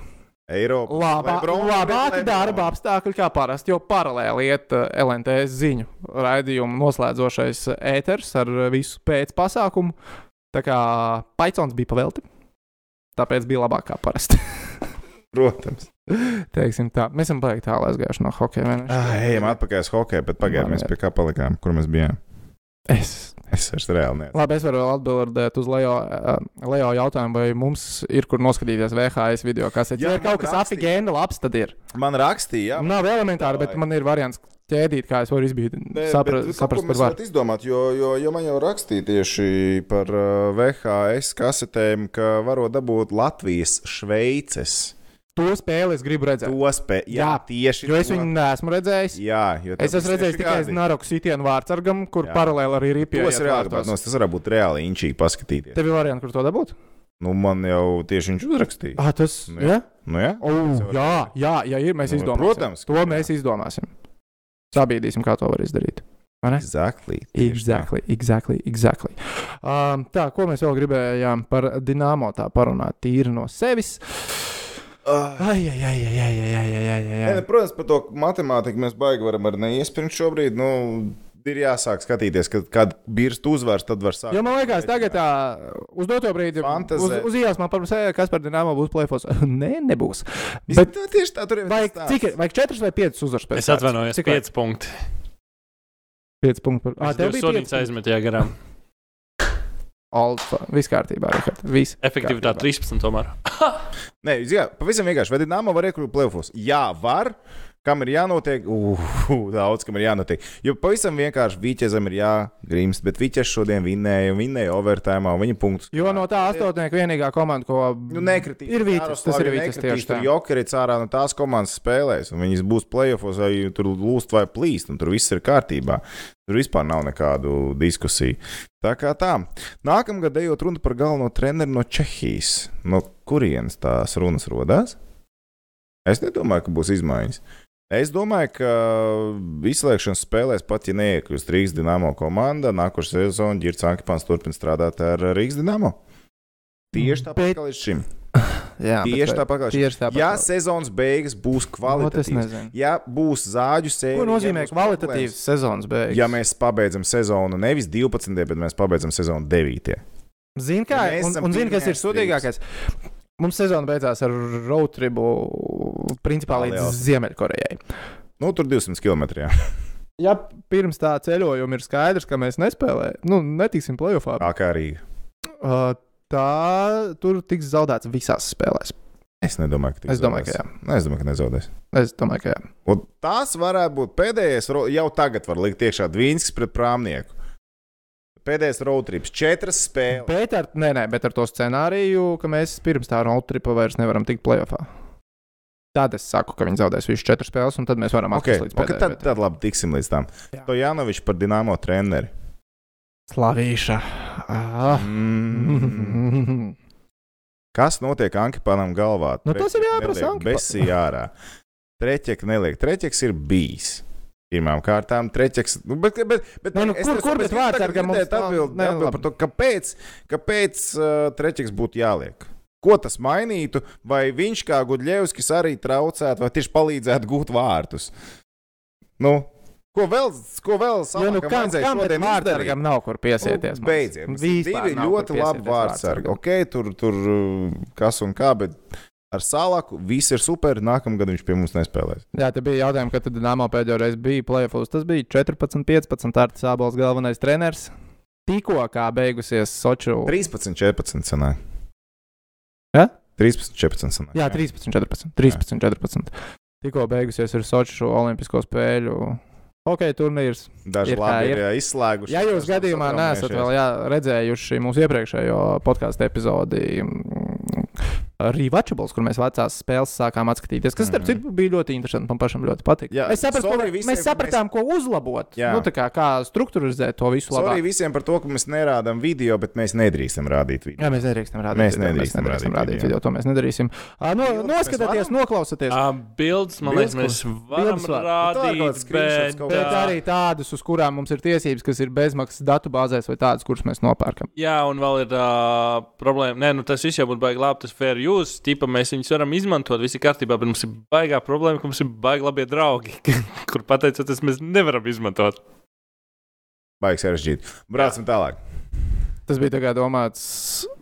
Speaker 2: Eiropa.
Speaker 1: Labā,
Speaker 2: Lebron,
Speaker 1: labāki
Speaker 2: Lebron.
Speaker 1: darba apstākļi kā parasti, jo paralēli iet uh, LNTS ziņu raidījuma noslēdzošais ēters ar uh, visu pēcpasākumu. Tā kā Paicons bija pavelti, tāpēc bija labāk kā parasti. <laughs>
Speaker 2: Protams.
Speaker 1: Teiksim tā, mēs esam baigi tālu aizgājuši no hokeja. vai ne?
Speaker 2: Ah, ejam atpakaļ uz hokeju, bet pagaidām mēs pie kā palikām, kur mēs bijām.
Speaker 1: Es
Speaker 2: Es vairs reāli nezinu.
Speaker 1: Labi, es varu vēl atbildēt uz Leo, eh, Leo jautājumu, vai mums ir kur noskatīties VHS video, kas ir.
Speaker 2: Jā,
Speaker 1: Ja ir
Speaker 2: man
Speaker 1: kaut kas
Speaker 2: rakstīja.
Speaker 1: afigēna, labs, tad ir.
Speaker 2: Man rakstīja, jā.
Speaker 1: Jā, Nav elementāri, bet
Speaker 2: Davai.
Speaker 1: man ir variants ķēdīt, kā es varu izbīt,
Speaker 2: Nē,
Speaker 1: sapra,
Speaker 2: bet kaut
Speaker 1: saprast,
Speaker 2: ko
Speaker 1: kur
Speaker 2: mēs
Speaker 1: var.
Speaker 2: varētu izdomāt, jo, jo, jo man jau rakstīja tieši par uh, VHS kasetēm, ka varu dabūt Latvijas, Šveices
Speaker 1: To spēli es gribu redzēt.
Speaker 2: to spēju.
Speaker 1: Jā,
Speaker 2: Jā, tieši
Speaker 1: Jo es
Speaker 2: to.
Speaker 1: viņu neesmu redzējis.
Speaker 2: Jā, jo
Speaker 1: Es esmu redzējis tikai uz Naroku sitienu vārtsargam, kur
Speaker 2: Jā.
Speaker 1: paralēli arī ir
Speaker 2: Tos ir
Speaker 1: ripjēta.
Speaker 2: jāatbalsta. Tas var būt reāli inčīgi paskatīties.
Speaker 1: Tev ir variants, kur to dabūt?
Speaker 2: Nu, man jau tieši viņš uzrakstīja.
Speaker 1: Ah, tas.
Speaker 2: Nu,
Speaker 1: Jā,
Speaker 2: Nu, jā.
Speaker 1: oh,
Speaker 2: varu
Speaker 1: jā, jā, jā, ir. Mēs
Speaker 2: Nu,
Speaker 1: izdomāsim.
Speaker 2: protams, ka
Speaker 1: To
Speaker 2: jā.
Speaker 1: mēs izdomāsim. Sabīdīsim, kā to var izdarīt. Vai ne?
Speaker 2: Exactly. tieši tā.
Speaker 1: Exactly, exactly, exactly. Um, tā, ko mēs vēl gribējām par dīnāmo tā parunāt, tīri no sevis.
Speaker 2: Ah,
Speaker 1: Ai, ai, ai, ai, ai, ai, ai, ai, ai,
Speaker 2: nē,
Speaker 1: ai.
Speaker 2: nu, Protams, par to matemātiku mēs baigi varam arī neiespringt šobrīd. Nu, ir jāsāk skatīties, kad, kad birst uzvars, tad var sākt.
Speaker 1: Jo man liekas, tagad tā, uz doto brīdi, uz,
Speaker 2: Fantazē.
Speaker 1: uz ielas man par sevi, kas par dīnāmo būs plēfos. <laughs> Nē, nebūs.
Speaker 2: Bet
Speaker 1: Bet
Speaker 2: tā tieši tā, tur ir
Speaker 1: vajag,
Speaker 2: tas
Speaker 1: cik,
Speaker 2: stāsts.
Speaker 1: ir- vajag četras vai piecas uzvaras pēc
Speaker 3: Es atvainojos,
Speaker 1: Cik vajag?
Speaker 3: 5 punkti.
Speaker 1: Pieci punkti par. Ā,
Speaker 3: Es
Speaker 1: Ah, tev
Speaker 3: divus
Speaker 1: bija
Speaker 3: sodiņus
Speaker 1: pieci.
Speaker 3: aizmetījā garām.
Speaker 1: Alfa, viss kārtībā, Rihard. Viss.
Speaker 3: Efektivitāte 13 tomēr.
Speaker 2: Nē, uz- jā, pavisam vienkārši. Vai Dienāmo var iekļūt plēfos? Jā, var. Kam ir jānotiek? Ugh, daudz kam ir jānotiek. Jo pavisam vienkārši Vīķezam ir jāgrimst, bet Vīķes šodien vinnēja, un vinnēja overtime, un viņa punktus.
Speaker 1: Jo no tā astotnieka vienīgā komanda, ko.
Speaker 2: Nu, nekritīs.
Speaker 1: Ir Vītis, tas ir Vītis tieši tā.
Speaker 2: Tur jokerits ārā no tās komandas spēlēs, un viņas būs plēfos, vai tur lūst vai plīst, un tur viss ir kārtībā. Tur vispār nav nekādu diskusiju. Tā kā tā. Nākamgad ejot runa par galveno treneru no Čehijas. No kurienes tās runas rodās? Es nedomāju, ka būs izmaiņas. Es domāju, ka izslēgšanas spēlēs pat, ja neiekļūst Rīgas Dienāmo komanda, nākošais sezona Girts Ankepāns turpina strādāt ar Rīgas Dienāmo. Tieši tāpat
Speaker 1: Bet-
Speaker 2: kā līdz šim.
Speaker 1: Jā, bet
Speaker 2: Tieši
Speaker 1: vai-
Speaker 2: tāpat kā šim.
Speaker 1: Tieši tāpat.
Speaker 2: Ja
Speaker 1: kā-
Speaker 2: sezonas beigas
Speaker 1: Nu,
Speaker 2: būs
Speaker 1: tas
Speaker 2: kvalitatīvas,
Speaker 1: nezinu.
Speaker 2: ja būs zāģu sērija,
Speaker 1: Ko nozīmē
Speaker 2: ja būs
Speaker 1: kvalitatīvs
Speaker 2: problēmas,
Speaker 1: sezonas beigas?
Speaker 2: Ja mēs pabeidzam sezonu nevis 12, bet mēs pabeidzam sezonu 9.
Speaker 1: Zini, kā,
Speaker 2: Ja mēs
Speaker 1: ja un,
Speaker 2: esam
Speaker 1: un zini, kas ir
Speaker 2: pirmajās
Speaker 1: sūdīgākais? Mums sezona beidzās ar road tripu, principā līdz
Speaker 2: Paleo.
Speaker 1: Ziemeļkorejai.
Speaker 2: Nu, tur 200 km. Jā.
Speaker 1: Ja pirms tā ceļojuma ir skaidrs, ka mēs nespēlēsim, nu, netiksim playoffā,
Speaker 2: Tā kā arī.
Speaker 1: uh, tā tur tiks zaudēts visās spēlēs.
Speaker 2: Es nedomāju, ka
Speaker 1: Es domāju, ka jā.
Speaker 2: jā. Es domāju, ka nezaudēs.
Speaker 1: Es domāju, ka jā.
Speaker 2: Un tās varētu būt pēdējais. ro- Jau tagad var likt iekšā Dvīnskis pret prāmnieku. Pēdējais road trips, četras spēles.
Speaker 1: Bet ar, nē, nē, bet ar to scenāriju, ka mēs pirms tā road tripa vairs nevaram tikt playoffā. Tad es saku, ka viņi zaudēs visus četrus spēles, un tad mēs varam
Speaker 2: Okay,
Speaker 1: atklāt līdz
Speaker 2: okay, tad,
Speaker 1: pēdējai.
Speaker 2: tad labi, tiksim līdz tam.
Speaker 1: Jā.
Speaker 2: To Jānovičs par dināmo treneri.
Speaker 1: Slavīša.
Speaker 2: <laughs>
Speaker 1: Ah. <laughs>
Speaker 2: Mm.
Speaker 1: Mhm.
Speaker 2: Kas notiek Ankipānam galvā?
Speaker 1: Nu, tas ir
Speaker 2: Treķek
Speaker 1: jāprasa
Speaker 2: neliek
Speaker 1: Ankipa-
Speaker 2: Besī ārā. Treķek neliek. Treķeks ir bijis. Pirmām kārtām, treķeks. Nu, bet, bet, bet,
Speaker 1: Nē, nu,
Speaker 2: es
Speaker 1: kur-
Speaker 2: tev
Speaker 1: kur,
Speaker 2: tāpēc
Speaker 1: bet vārds
Speaker 2: tagad
Speaker 1: ar, ka mums
Speaker 2: gribētu
Speaker 1: nav-
Speaker 2: atbild-
Speaker 1: nē,
Speaker 2: atbild
Speaker 1: labi.
Speaker 2: par to, kāpēc, kāpēc uh, treķeks būtu jāliek. Ko tas mainītu, vai viņš kā Gudļevskis arī traucētu, vai tieši palīdzētu gūt vārtus? Nu, ko vēl, ko vēl
Speaker 1: Jo, nu,
Speaker 2: Salakam
Speaker 1: kam
Speaker 2: vajadzēja
Speaker 1: kam
Speaker 2: šodien
Speaker 1: bet
Speaker 2: izdarīt?
Speaker 1: vārdsargam nav kur piesieties?
Speaker 2: Nu,
Speaker 1: mums?
Speaker 2: Beidziet. Mums ir
Speaker 1: Vispār
Speaker 2: Divi
Speaker 1: nav kur
Speaker 2: ļoti labi
Speaker 1: piesieties
Speaker 2: vārdsargi.
Speaker 1: vārdsargam.
Speaker 2: Ok, tur, tur uh, kas un kā, bet ar Salaku viss ir super. Nākamgad viņš pie mums nespēlēs.
Speaker 1: Jā, te bija jautājumi, kad tad Nāmo pēdējo reizi bija plēfos. Tas bija 14, 15. Arts Sābols galvenais treneris. Tikko kā beigusies Soču.
Speaker 2: 13, 14 sanāja.
Speaker 1: Ja?
Speaker 2: 13, 14 sanāja.
Speaker 1: Jā, 13, 14. 13, 14. Tikko beigusies ir Soču Olimpisko spēļu. Ok, turnīrs.
Speaker 2: Daži
Speaker 1: Ir kā
Speaker 2: labi
Speaker 1: ir.
Speaker 2: ir, ir izslēguši.
Speaker 1: Ja jūs
Speaker 2: daži
Speaker 1: gadījumā neesat vēl jā, redzējuši mūsu iepriekšējo podkāstu epizodi, mm, Rewatchables, kur mēs vecās spēles sākām atskatīties, kas, starp
Speaker 2: Mhm.
Speaker 1: citu, bija ļoti interesanti. Man pašam ļoti patika.
Speaker 2: Jā,
Speaker 1: mēs, saprat, ko,
Speaker 2: sorry
Speaker 1: var-
Speaker 2: visiem,
Speaker 1: mēs
Speaker 2: ka
Speaker 1: sapratām, ko uzlabot.
Speaker 2: Jā.
Speaker 1: Nu, tā kā, kā struktūrizēt to visu labāk.
Speaker 2: Sorry visiem par to, ka mēs nerādām video, bet mēs nedrīkstam rādīt video.
Speaker 1: Jā, mēs nedrīkstam rādīt.
Speaker 2: Mēs
Speaker 1: video,
Speaker 2: nedrīkstam
Speaker 1: mēs nedrīkstam
Speaker 2: rādīt
Speaker 1: rādīt
Speaker 2: video.
Speaker 1: video. To mēs nedarīsim. Ā, No,
Speaker 2: Bildes mēs
Speaker 1: noskatieties,
Speaker 2: varam? Ah,
Speaker 1: noklausieties.
Speaker 3: Uh, bildes, man
Speaker 2: Bildes,
Speaker 3: liekas, mēs varam
Speaker 1: bildes Nu, var-
Speaker 2: Tā ir kaut
Speaker 3: rādīt,
Speaker 2: kāds screenshots
Speaker 3: bet,
Speaker 2: kaut
Speaker 1: Bet
Speaker 2: kāds.
Speaker 3: bet
Speaker 1: arī tādas, uz kurām mums ir tiesības, kas ir bezmaksas datubāzēs vai tādas, kuras mēs nopērkam.
Speaker 3: Jā, un vēl ir uh, problēma. Nē, nu tas viss jau būtu baigi labi. Tas fair use, tipa mēs viņus varam izmantot. Viss ir kārtībā, bet mums ir baigā problēma, ka mums ir baigi labie draugi, <laughs> kur pateicoties mēs nevaram izmantot.
Speaker 2: Baigi sarežģīti. Brācam tālāk.
Speaker 1: Tas bija tā kā domāts.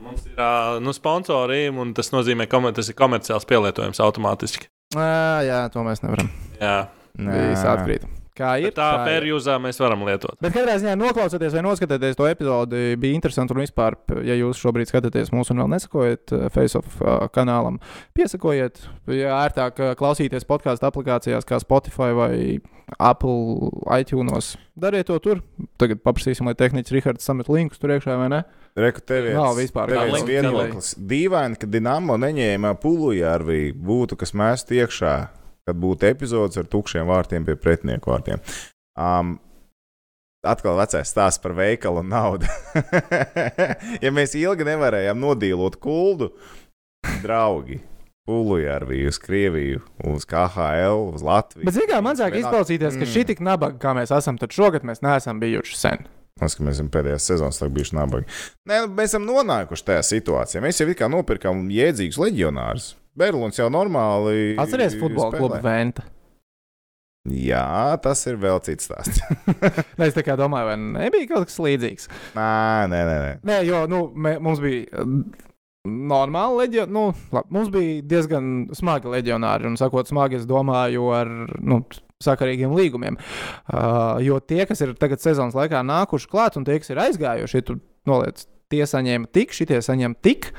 Speaker 3: Mums ir uh, nu, sponsoriem, un tas nozīmē, ka tas ir komerciāls pielietojums automātiski.
Speaker 1: Ā, jā, to mēs nevaram.
Speaker 3: Jā,
Speaker 1: Viss atkrīt. Kā
Speaker 3: ir,
Speaker 1: ir?
Speaker 3: tā
Speaker 1: ir.
Speaker 3: fair use mēs varam lietot.
Speaker 1: Bet katrā ziņā noklausoties vai noskatoties to epizodi, bija interesanti. Un vispār, p- ja jūs šobrīd skatāties mūsu un vēl nesakojat eh, FaceOff eh, kanālam, piesakojiet. Ja ērtāk eh, klausīties podkāstu aplikācijās, kā Spotify vai Apple iTunes, dariet to tur. Tagad paprasīsim, lai tehniķis Rahards samet linkus tur iekšā vai ne.
Speaker 2: Reku tev ir
Speaker 1: Nav vispār
Speaker 2: tev
Speaker 3: kā
Speaker 2: viens
Speaker 3: link-
Speaker 2: vienoklis. Dīvaini, ka Dienāmo neņēma pulujārvi būtu, kas mēst iekšā, kad būtu epizodes ar tukšiem vārtiem pie pretinieku vārtiem. Um, Atkal vecais stāsts par veikalu un naudu. <laughs> ja mēs ilgi nevarējām nodīlot kuldu, draugi, pulujārvi uz Krieviju, uz KHL, uz Latviju.
Speaker 1: Bet, zinām, man sāk
Speaker 2: Bet-
Speaker 1: izklausīties, ka
Speaker 2: Mm.
Speaker 1: šī tik nabaga, kā mēs esam, tad šogad mēs neesam bijuši sen.
Speaker 2: Mēs, mēs esam pēdējā sezonā tā bijuši nabagi. Nē, nu, mēs esam nonākuši tajā situācijā. Mēs jau it kā nopirkām jēdzīgus leģionārus. Berlīns jau normāli.
Speaker 1: Atcerieties, futbola
Speaker 2: spēlē.
Speaker 1: klubu Venta.
Speaker 2: Jā, tas ir vēl cits stāsts.
Speaker 1: Nē, Es tā kā domāju, vai nebija kaut kas līdzīgs.
Speaker 2: nē, nē, nē. nē.
Speaker 1: Nē, jo nu, mē, mums bija mm, normāli leģionāri. Nu, labi, mums bija diezgan smagi leģionāri. Un, sakot, smagi es domāju ar nu, sakarīgiem līgumiem. Uh, jo tie, kas ir tagad sezonas laikā nākuši klāt, un tie, kas ir aizgājuši, ja tu noliec, tie saņēma tik, šitie saņēma tik.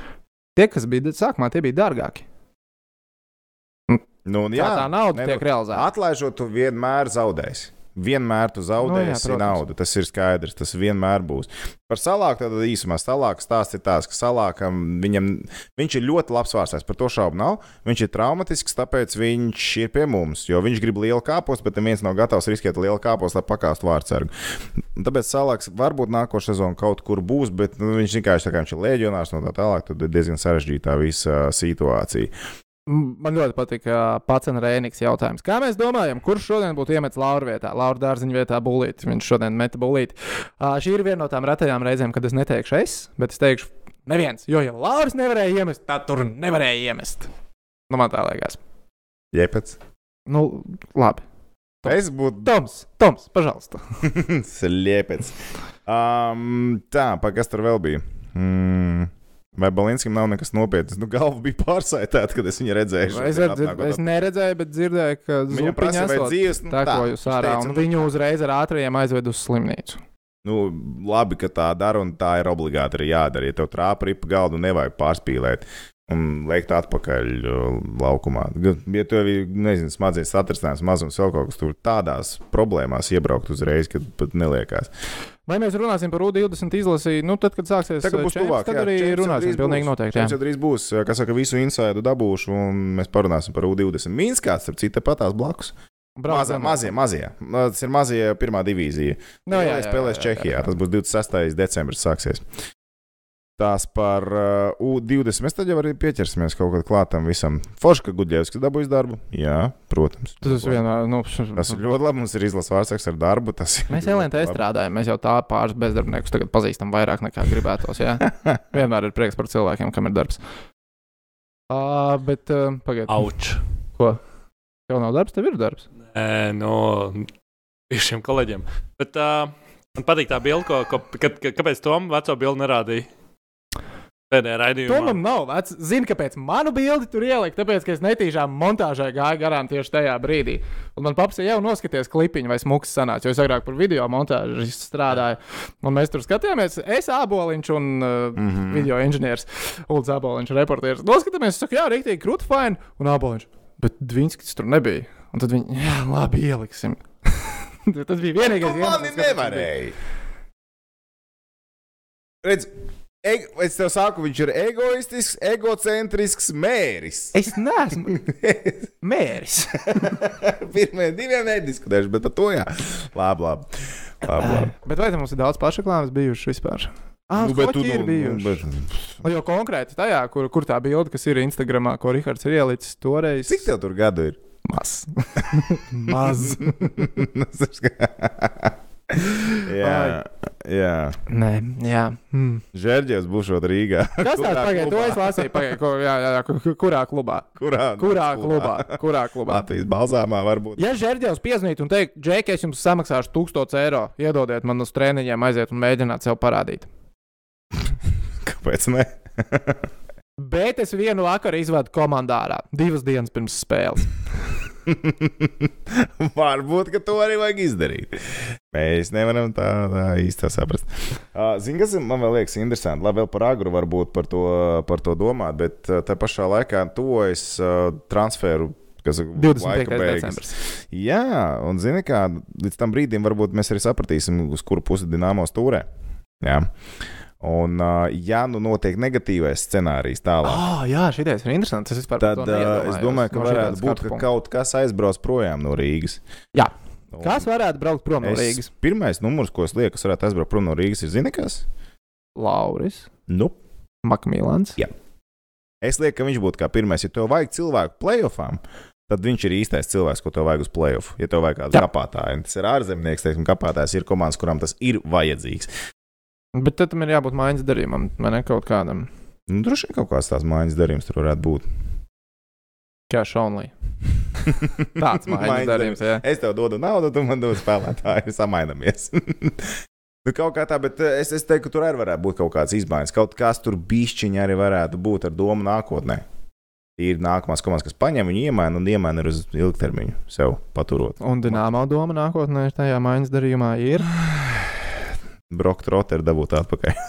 Speaker 1: Tie, kas bija da- sākumā, tie bija dārgāki.
Speaker 2: Nu, un
Speaker 1: Jā,
Speaker 2: jā,
Speaker 1: tā nauda
Speaker 2: nē,
Speaker 1: tiek
Speaker 2: nu,
Speaker 1: realizēta.
Speaker 2: Atlaižot, tu vienmēr zaudēsi. Vienmēr tu zaudēsi
Speaker 1: Nu, jā,
Speaker 2: no, jā,
Speaker 1: protams.
Speaker 2: naudu. Tas ir skaidrs. Tas vienmēr būs. Par salāku tad īsumā salāks stāsts ir tāds, ka salākam viņam, viņš ir ļoti labs vārstājs. Par to šaubu nav. Viņš ir traumatisks, tāpēc viņš ir pie mums. Jo viņš grib lielu kāpostu, bet neviens nav gatavs riskēt lielu kāpostu, lai pakāstu vārdsargu. Un Tāpēc salāks varbūt nākošais sezona kaut kur būs, bet nu, viņš vienkārši tā kā viņš ir leģionārs un tā tālāk. Tad ir diezgan sarežģīta visa uh, situācija.
Speaker 1: M- Man ļoti patīk pats Rēniks jautājums. Kā mēs domājam, kurš šodien būtu iemetis Laura vietā, Laura dārziņa vietā, būlīt? Viņš šodien meta būlīt. Ā, Šī ir viena no tām retajām reizēm, kad es neteikšu es, bet es teikšu neviens. Jo, ja Lauris nevarēja iemest, tad tur nevarēja iemest. Nu, man tā liekas.
Speaker 2: Jepēc.
Speaker 1: Nu, labi.
Speaker 2: Es būtu
Speaker 1: Toms, Toms, pažalsta.
Speaker 2: <laughs> Sliepēc. Um, tā, pa, kas tur vēl bija? Mm. Vai Balinskam nav nekas nopietnas? Nu, galva bija pārsaistīta, kad es viņu redzēju.
Speaker 1: Es,
Speaker 2: šodien
Speaker 1: redz,
Speaker 2: atnākot.
Speaker 1: es neredzēju, bet dzirdēju, ka
Speaker 2: Viņa
Speaker 1: zupiņa
Speaker 2: prasīja, vai
Speaker 1: esot
Speaker 2: dzīves, nu, tā,
Speaker 1: tekojusi
Speaker 2: Viņš
Speaker 1: ārā,
Speaker 2: teica,
Speaker 1: un
Speaker 2: nu,
Speaker 1: viņu uzreiz ar ātrajiem aizved uz slimnīcu.
Speaker 2: Nu, labi, ka tā dara, un tā ir obligāti arī jādara. Ja tev trāpa ripa galdu, nevajag pārspīlēt un liekt atpakaļ uh, laukumā. Ja tev ir, nezinu, smadzenes satricinājums, mazums vēl kaut kas tur tādās problēmās iebraukt uzreiz, kad pat neliekās.
Speaker 1: Vai mēs runāsim par U20 izlasi, nu, tad, kad sāksies
Speaker 2: Tagad būs
Speaker 1: Champions,
Speaker 2: tuvāk.
Speaker 1: tad arī runāsim. Pilnīgi noteikti. jā.
Speaker 2: Viņš jau drīz būs. eh, Kas saka, visu insādu dabūšu, un mēs parunāsim par U20. Mīns kāds, ap citu, patās blakus.
Speaker 1: Brauc
Speaker 2: Mazā,
Speaker 1: zemāk.
Speaker 2: mazie, mazie. Nu, Tas ir mazie pirmā divīzija.
Speaker 1: Nu, jā, jā,
Speaker 2: spēlēs
Speaker 1: jā, jā,
Speaker 2: Čehijā.
Speaker 1: jā.
Speaker 2: Tas būs 26. decembris. Sāksies. Tās par uh, U20. Mēs tad jau arī pieķersimies kaut kad klātam visam. Forša, ka Gudļevskis dabūjis darbu. Jā, protams.
Speaker 1: Tas vienmēr, nu,
Speaker 2: Tas ir ļoti labi. Mums ir izlases vārdsargs ar darbu. Tas ir
Speaker 1: Mēs
Speaker 2: ļoti
Speaker 1: LNT
Speaker 2: labi.
Speaker 1: strādājam, mēs jau tā pāris bezdarbniekus tagad pazīstam vairāk nekā gribētos. Jā.
Speaker 2: <laughs>
Speaker 1: Vienmēr ir prieks par cilvēkiem, kam ir darbs. Uh, bet, uh, pagaidiet,
Speaker 3: Auč.
Speaker 1: jau nav darbs, tev ir darbs.
Speaker 3: Nē, no šiem kolēģiem. Bet, uh, man patīk tā bilde, ko, ko, kad, kad, kāpēc Tomam veco bildi nerādīja. Pēdējā raidījumā.
Speaker 1: Tomam nav. Vecs. Zini, kāpēc manu bildi tur ielikt? Tāpēc, ka es netīšām montāžai gāju garām tieši tajā brīdī. Un man paprasīja, jau noskaties klipiņu, vai smūgs sanāca. Jo es agrāk par video montāžu strādāju. Un mēs tur skatījāmies, es aboliņš un uh, mm -hmm. video inženieris, Ulds Aboliņš, reportieris. Noskatāmies, saka, jā, rīktīgi, krūti, fini, un aboliņš. Bet Dvīnskis tur nebija. Un tad viņi, jā, labi, ieliksim. <laughs> Tas bija vienīgais. iemesls,
Speaker 2: Tu mani
Speaker 1: kāpēc tas bija.
Speaker 2: nevarēji. Redz, eg, es tev saku, viņš ir egoistisks, egocentrisks mēris.
Speaker 1: Es neesmu <laughs> mērs.
Speaker 2: <laughs> Pirmie divi nediskutējuši, bet par to jā. Labi, labi. labi, labi.
Speaker 1: Bet vai te mums ir daudz pašreklāmas bijušas vispār? Ah,
Speaker 2: Nu, bet tu,
Speaker 1: ir
Speaker 2: nu,
Speaker 1: bijuši.
Speaker 2: nu, bet-
Speaker 1: Nu, Jo konkrēti tajā, kur, kur tā bilde, kas ir Instagramā, ko Rihards ir ielicis toreiz,
Speaker 2: Cik tev tur gadu ir?
Speaker 1: <laughs> maz. maz.
Speaker 2: <laughs> jā, jā.
Speaker 1: Nē, jā. Hmm.
Speaker 2: Žērģies būšot Rīgā.
Speaker 1: Kas
Speaker 2: Kurā
Speaker 1: tāds pagaidi? To
Speaker 2: klubā?
Speaker 1: es lasīju. Pagaidi, ko, jā, jā, jā, ku- kurā klubā?
Speaker 2: Kurā,
Speaker 1: Kurā klubā? Kurā klubā?
Speaker 2: Latvijas balzāmā varbūt.
Speaker 1: Ja Žērģēvs piezīmētu un teiktu, Džek, es jums samaksāšu 1000 eiro, iedodiet man uz treniņiem, aiziet un mēģināt sev parādīt.
Speaker 2: Kāpēc ne?
Speaker 1: Bet es vienu vakaru izvedu komandārā, divas dienas pirms spēles.
Speaker 2: <laughs> Varbūt, ka to arī vajag izdarīt. Mēs nevaram tā, tā īsti saprast. Uh, Zini, kas man vēl liekas interesanti, labi, vēl par agru varbūt par to, par to domāt, bet uh, tā pašā laikā tuvojas uh, transferu. Kas, ir
Speaker 1: 25.
Speaker 2: laika beigas.
Speaker 1: decembris.
Speaker 2: Jā, un zini, kā līdz tam brīdim varbūt mēs arī sapratīsim, uz kuru pusi dīnāmos turē. Jā. Un, uh, ja nu notiek negatīvais scenārijs tālāk,
Speaker 1: Oh, jā, šī ideja ir interesanta. Tas vispār
Speaker 2: tad
Speaker 1: par to
Speaker 2: uh, es
Speaker 1: neiedomājos
Speaker 2: domāju, ka
Speaker 1: no šī tāda
Speaker 2: varētu būt,
Speaker 1: skatu
Speaker 2: ka
Speaker 1: punkta.
Speaker 2: kaut kas aizbrauc projām no Rīgas.
Speaker 1: Jā.
Speaker 2: Un
Speaker 1: Kas varētu braukt prom no
Speaker 2: es-
Speaker 1: Rīgas?
Speaker 2: Pirmais numurs, ko es lieku, kas varētu aizbraukt prom no Rīgas, ir Zinikas.
Speaker 1: Lauris,
Speaker 2: Nu,
Speaker 1: Makmīlāns.
Speaker 2: es lieku, ka viņš būtu kā pirmais. Ja tev vajag cilvēku playoffām, tad viņš ir īstais cilvēks, ko tev vajag uz playoffu. Ja tev vajag kādu
Speaker 1: Jā.
Speaker 2: kapātāju, un tas ir ārzemnieks, teiksim, kapātājs ir komandas, kurām tas ir vajadzīgs.
Speaker 1: Bet tad tam ir jābūt mājas darījumam, vai ne kaut kādam,
Speaker 2: Nu, droši vien kaut kāds tās mājas darījums tur varētu būt.
Speaker 1: kā Šonlī.
Speaker 2: <laughs>
Speaker 1: Tāds mājas darījums, jā.
Speaker 2: Es tev dodu naudu, tu man dod spēlētāju, samainamies. <laughs> Nu, kaut kā tā, bet eh, es, es teiktu, ka tur arī varētu būt kaut kādas izmaiņas. Kaut kas tur bišķiņā arī varētu būt ar domu nākotnē. Ir nākamās komandas, kas paņem viņu, iemaina un iemaina arī uz ilgtermiņu sev paturot. <sighs>
Speaker 1: Un Dienāmā doma nākotnē tajā mājas darījumā ir.
Speaker 2: Brokt Rotter dabūt atpakaļ. <laughs>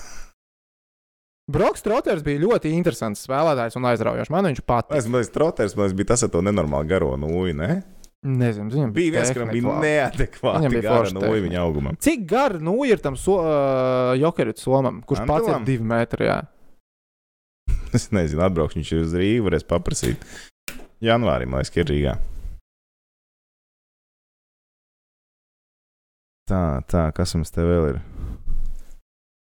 Speaker 1: Broks Trotters bija ļoti interesants spēlētājs un aizraujošs. Man viņš patīk.
Speaker 2: Es domāju, Trotters, man liekas, bija tas ar to nenormāli garo nūju, ne?
Speaker 1: Nezinu, viņam
Speaker 2: Bija viens, kuram bija
Speaker 1: tehnika laba. Viņam
Speaker 2: neadekvāti
Speaker 1: bija
Speaker 2: gara
Speaker 1: forša
Speaker 2: nūju
Speaker 1: tehnika.
Speaker 2: viņa augumam.
Speaker 1: Cik gara nu ir tam so, uh, jokeru somam, kurš pats ir
Speaker 2: Antilam?
Speaker 1: divi metri? Jā.
Speaker 2: Es nezinu, atbraukšu viņš uz Rīgā, varēs paprasīt. Janvārī, man liekas, ka ir Rīgā. Tā, tā, kas mums te vēl ir?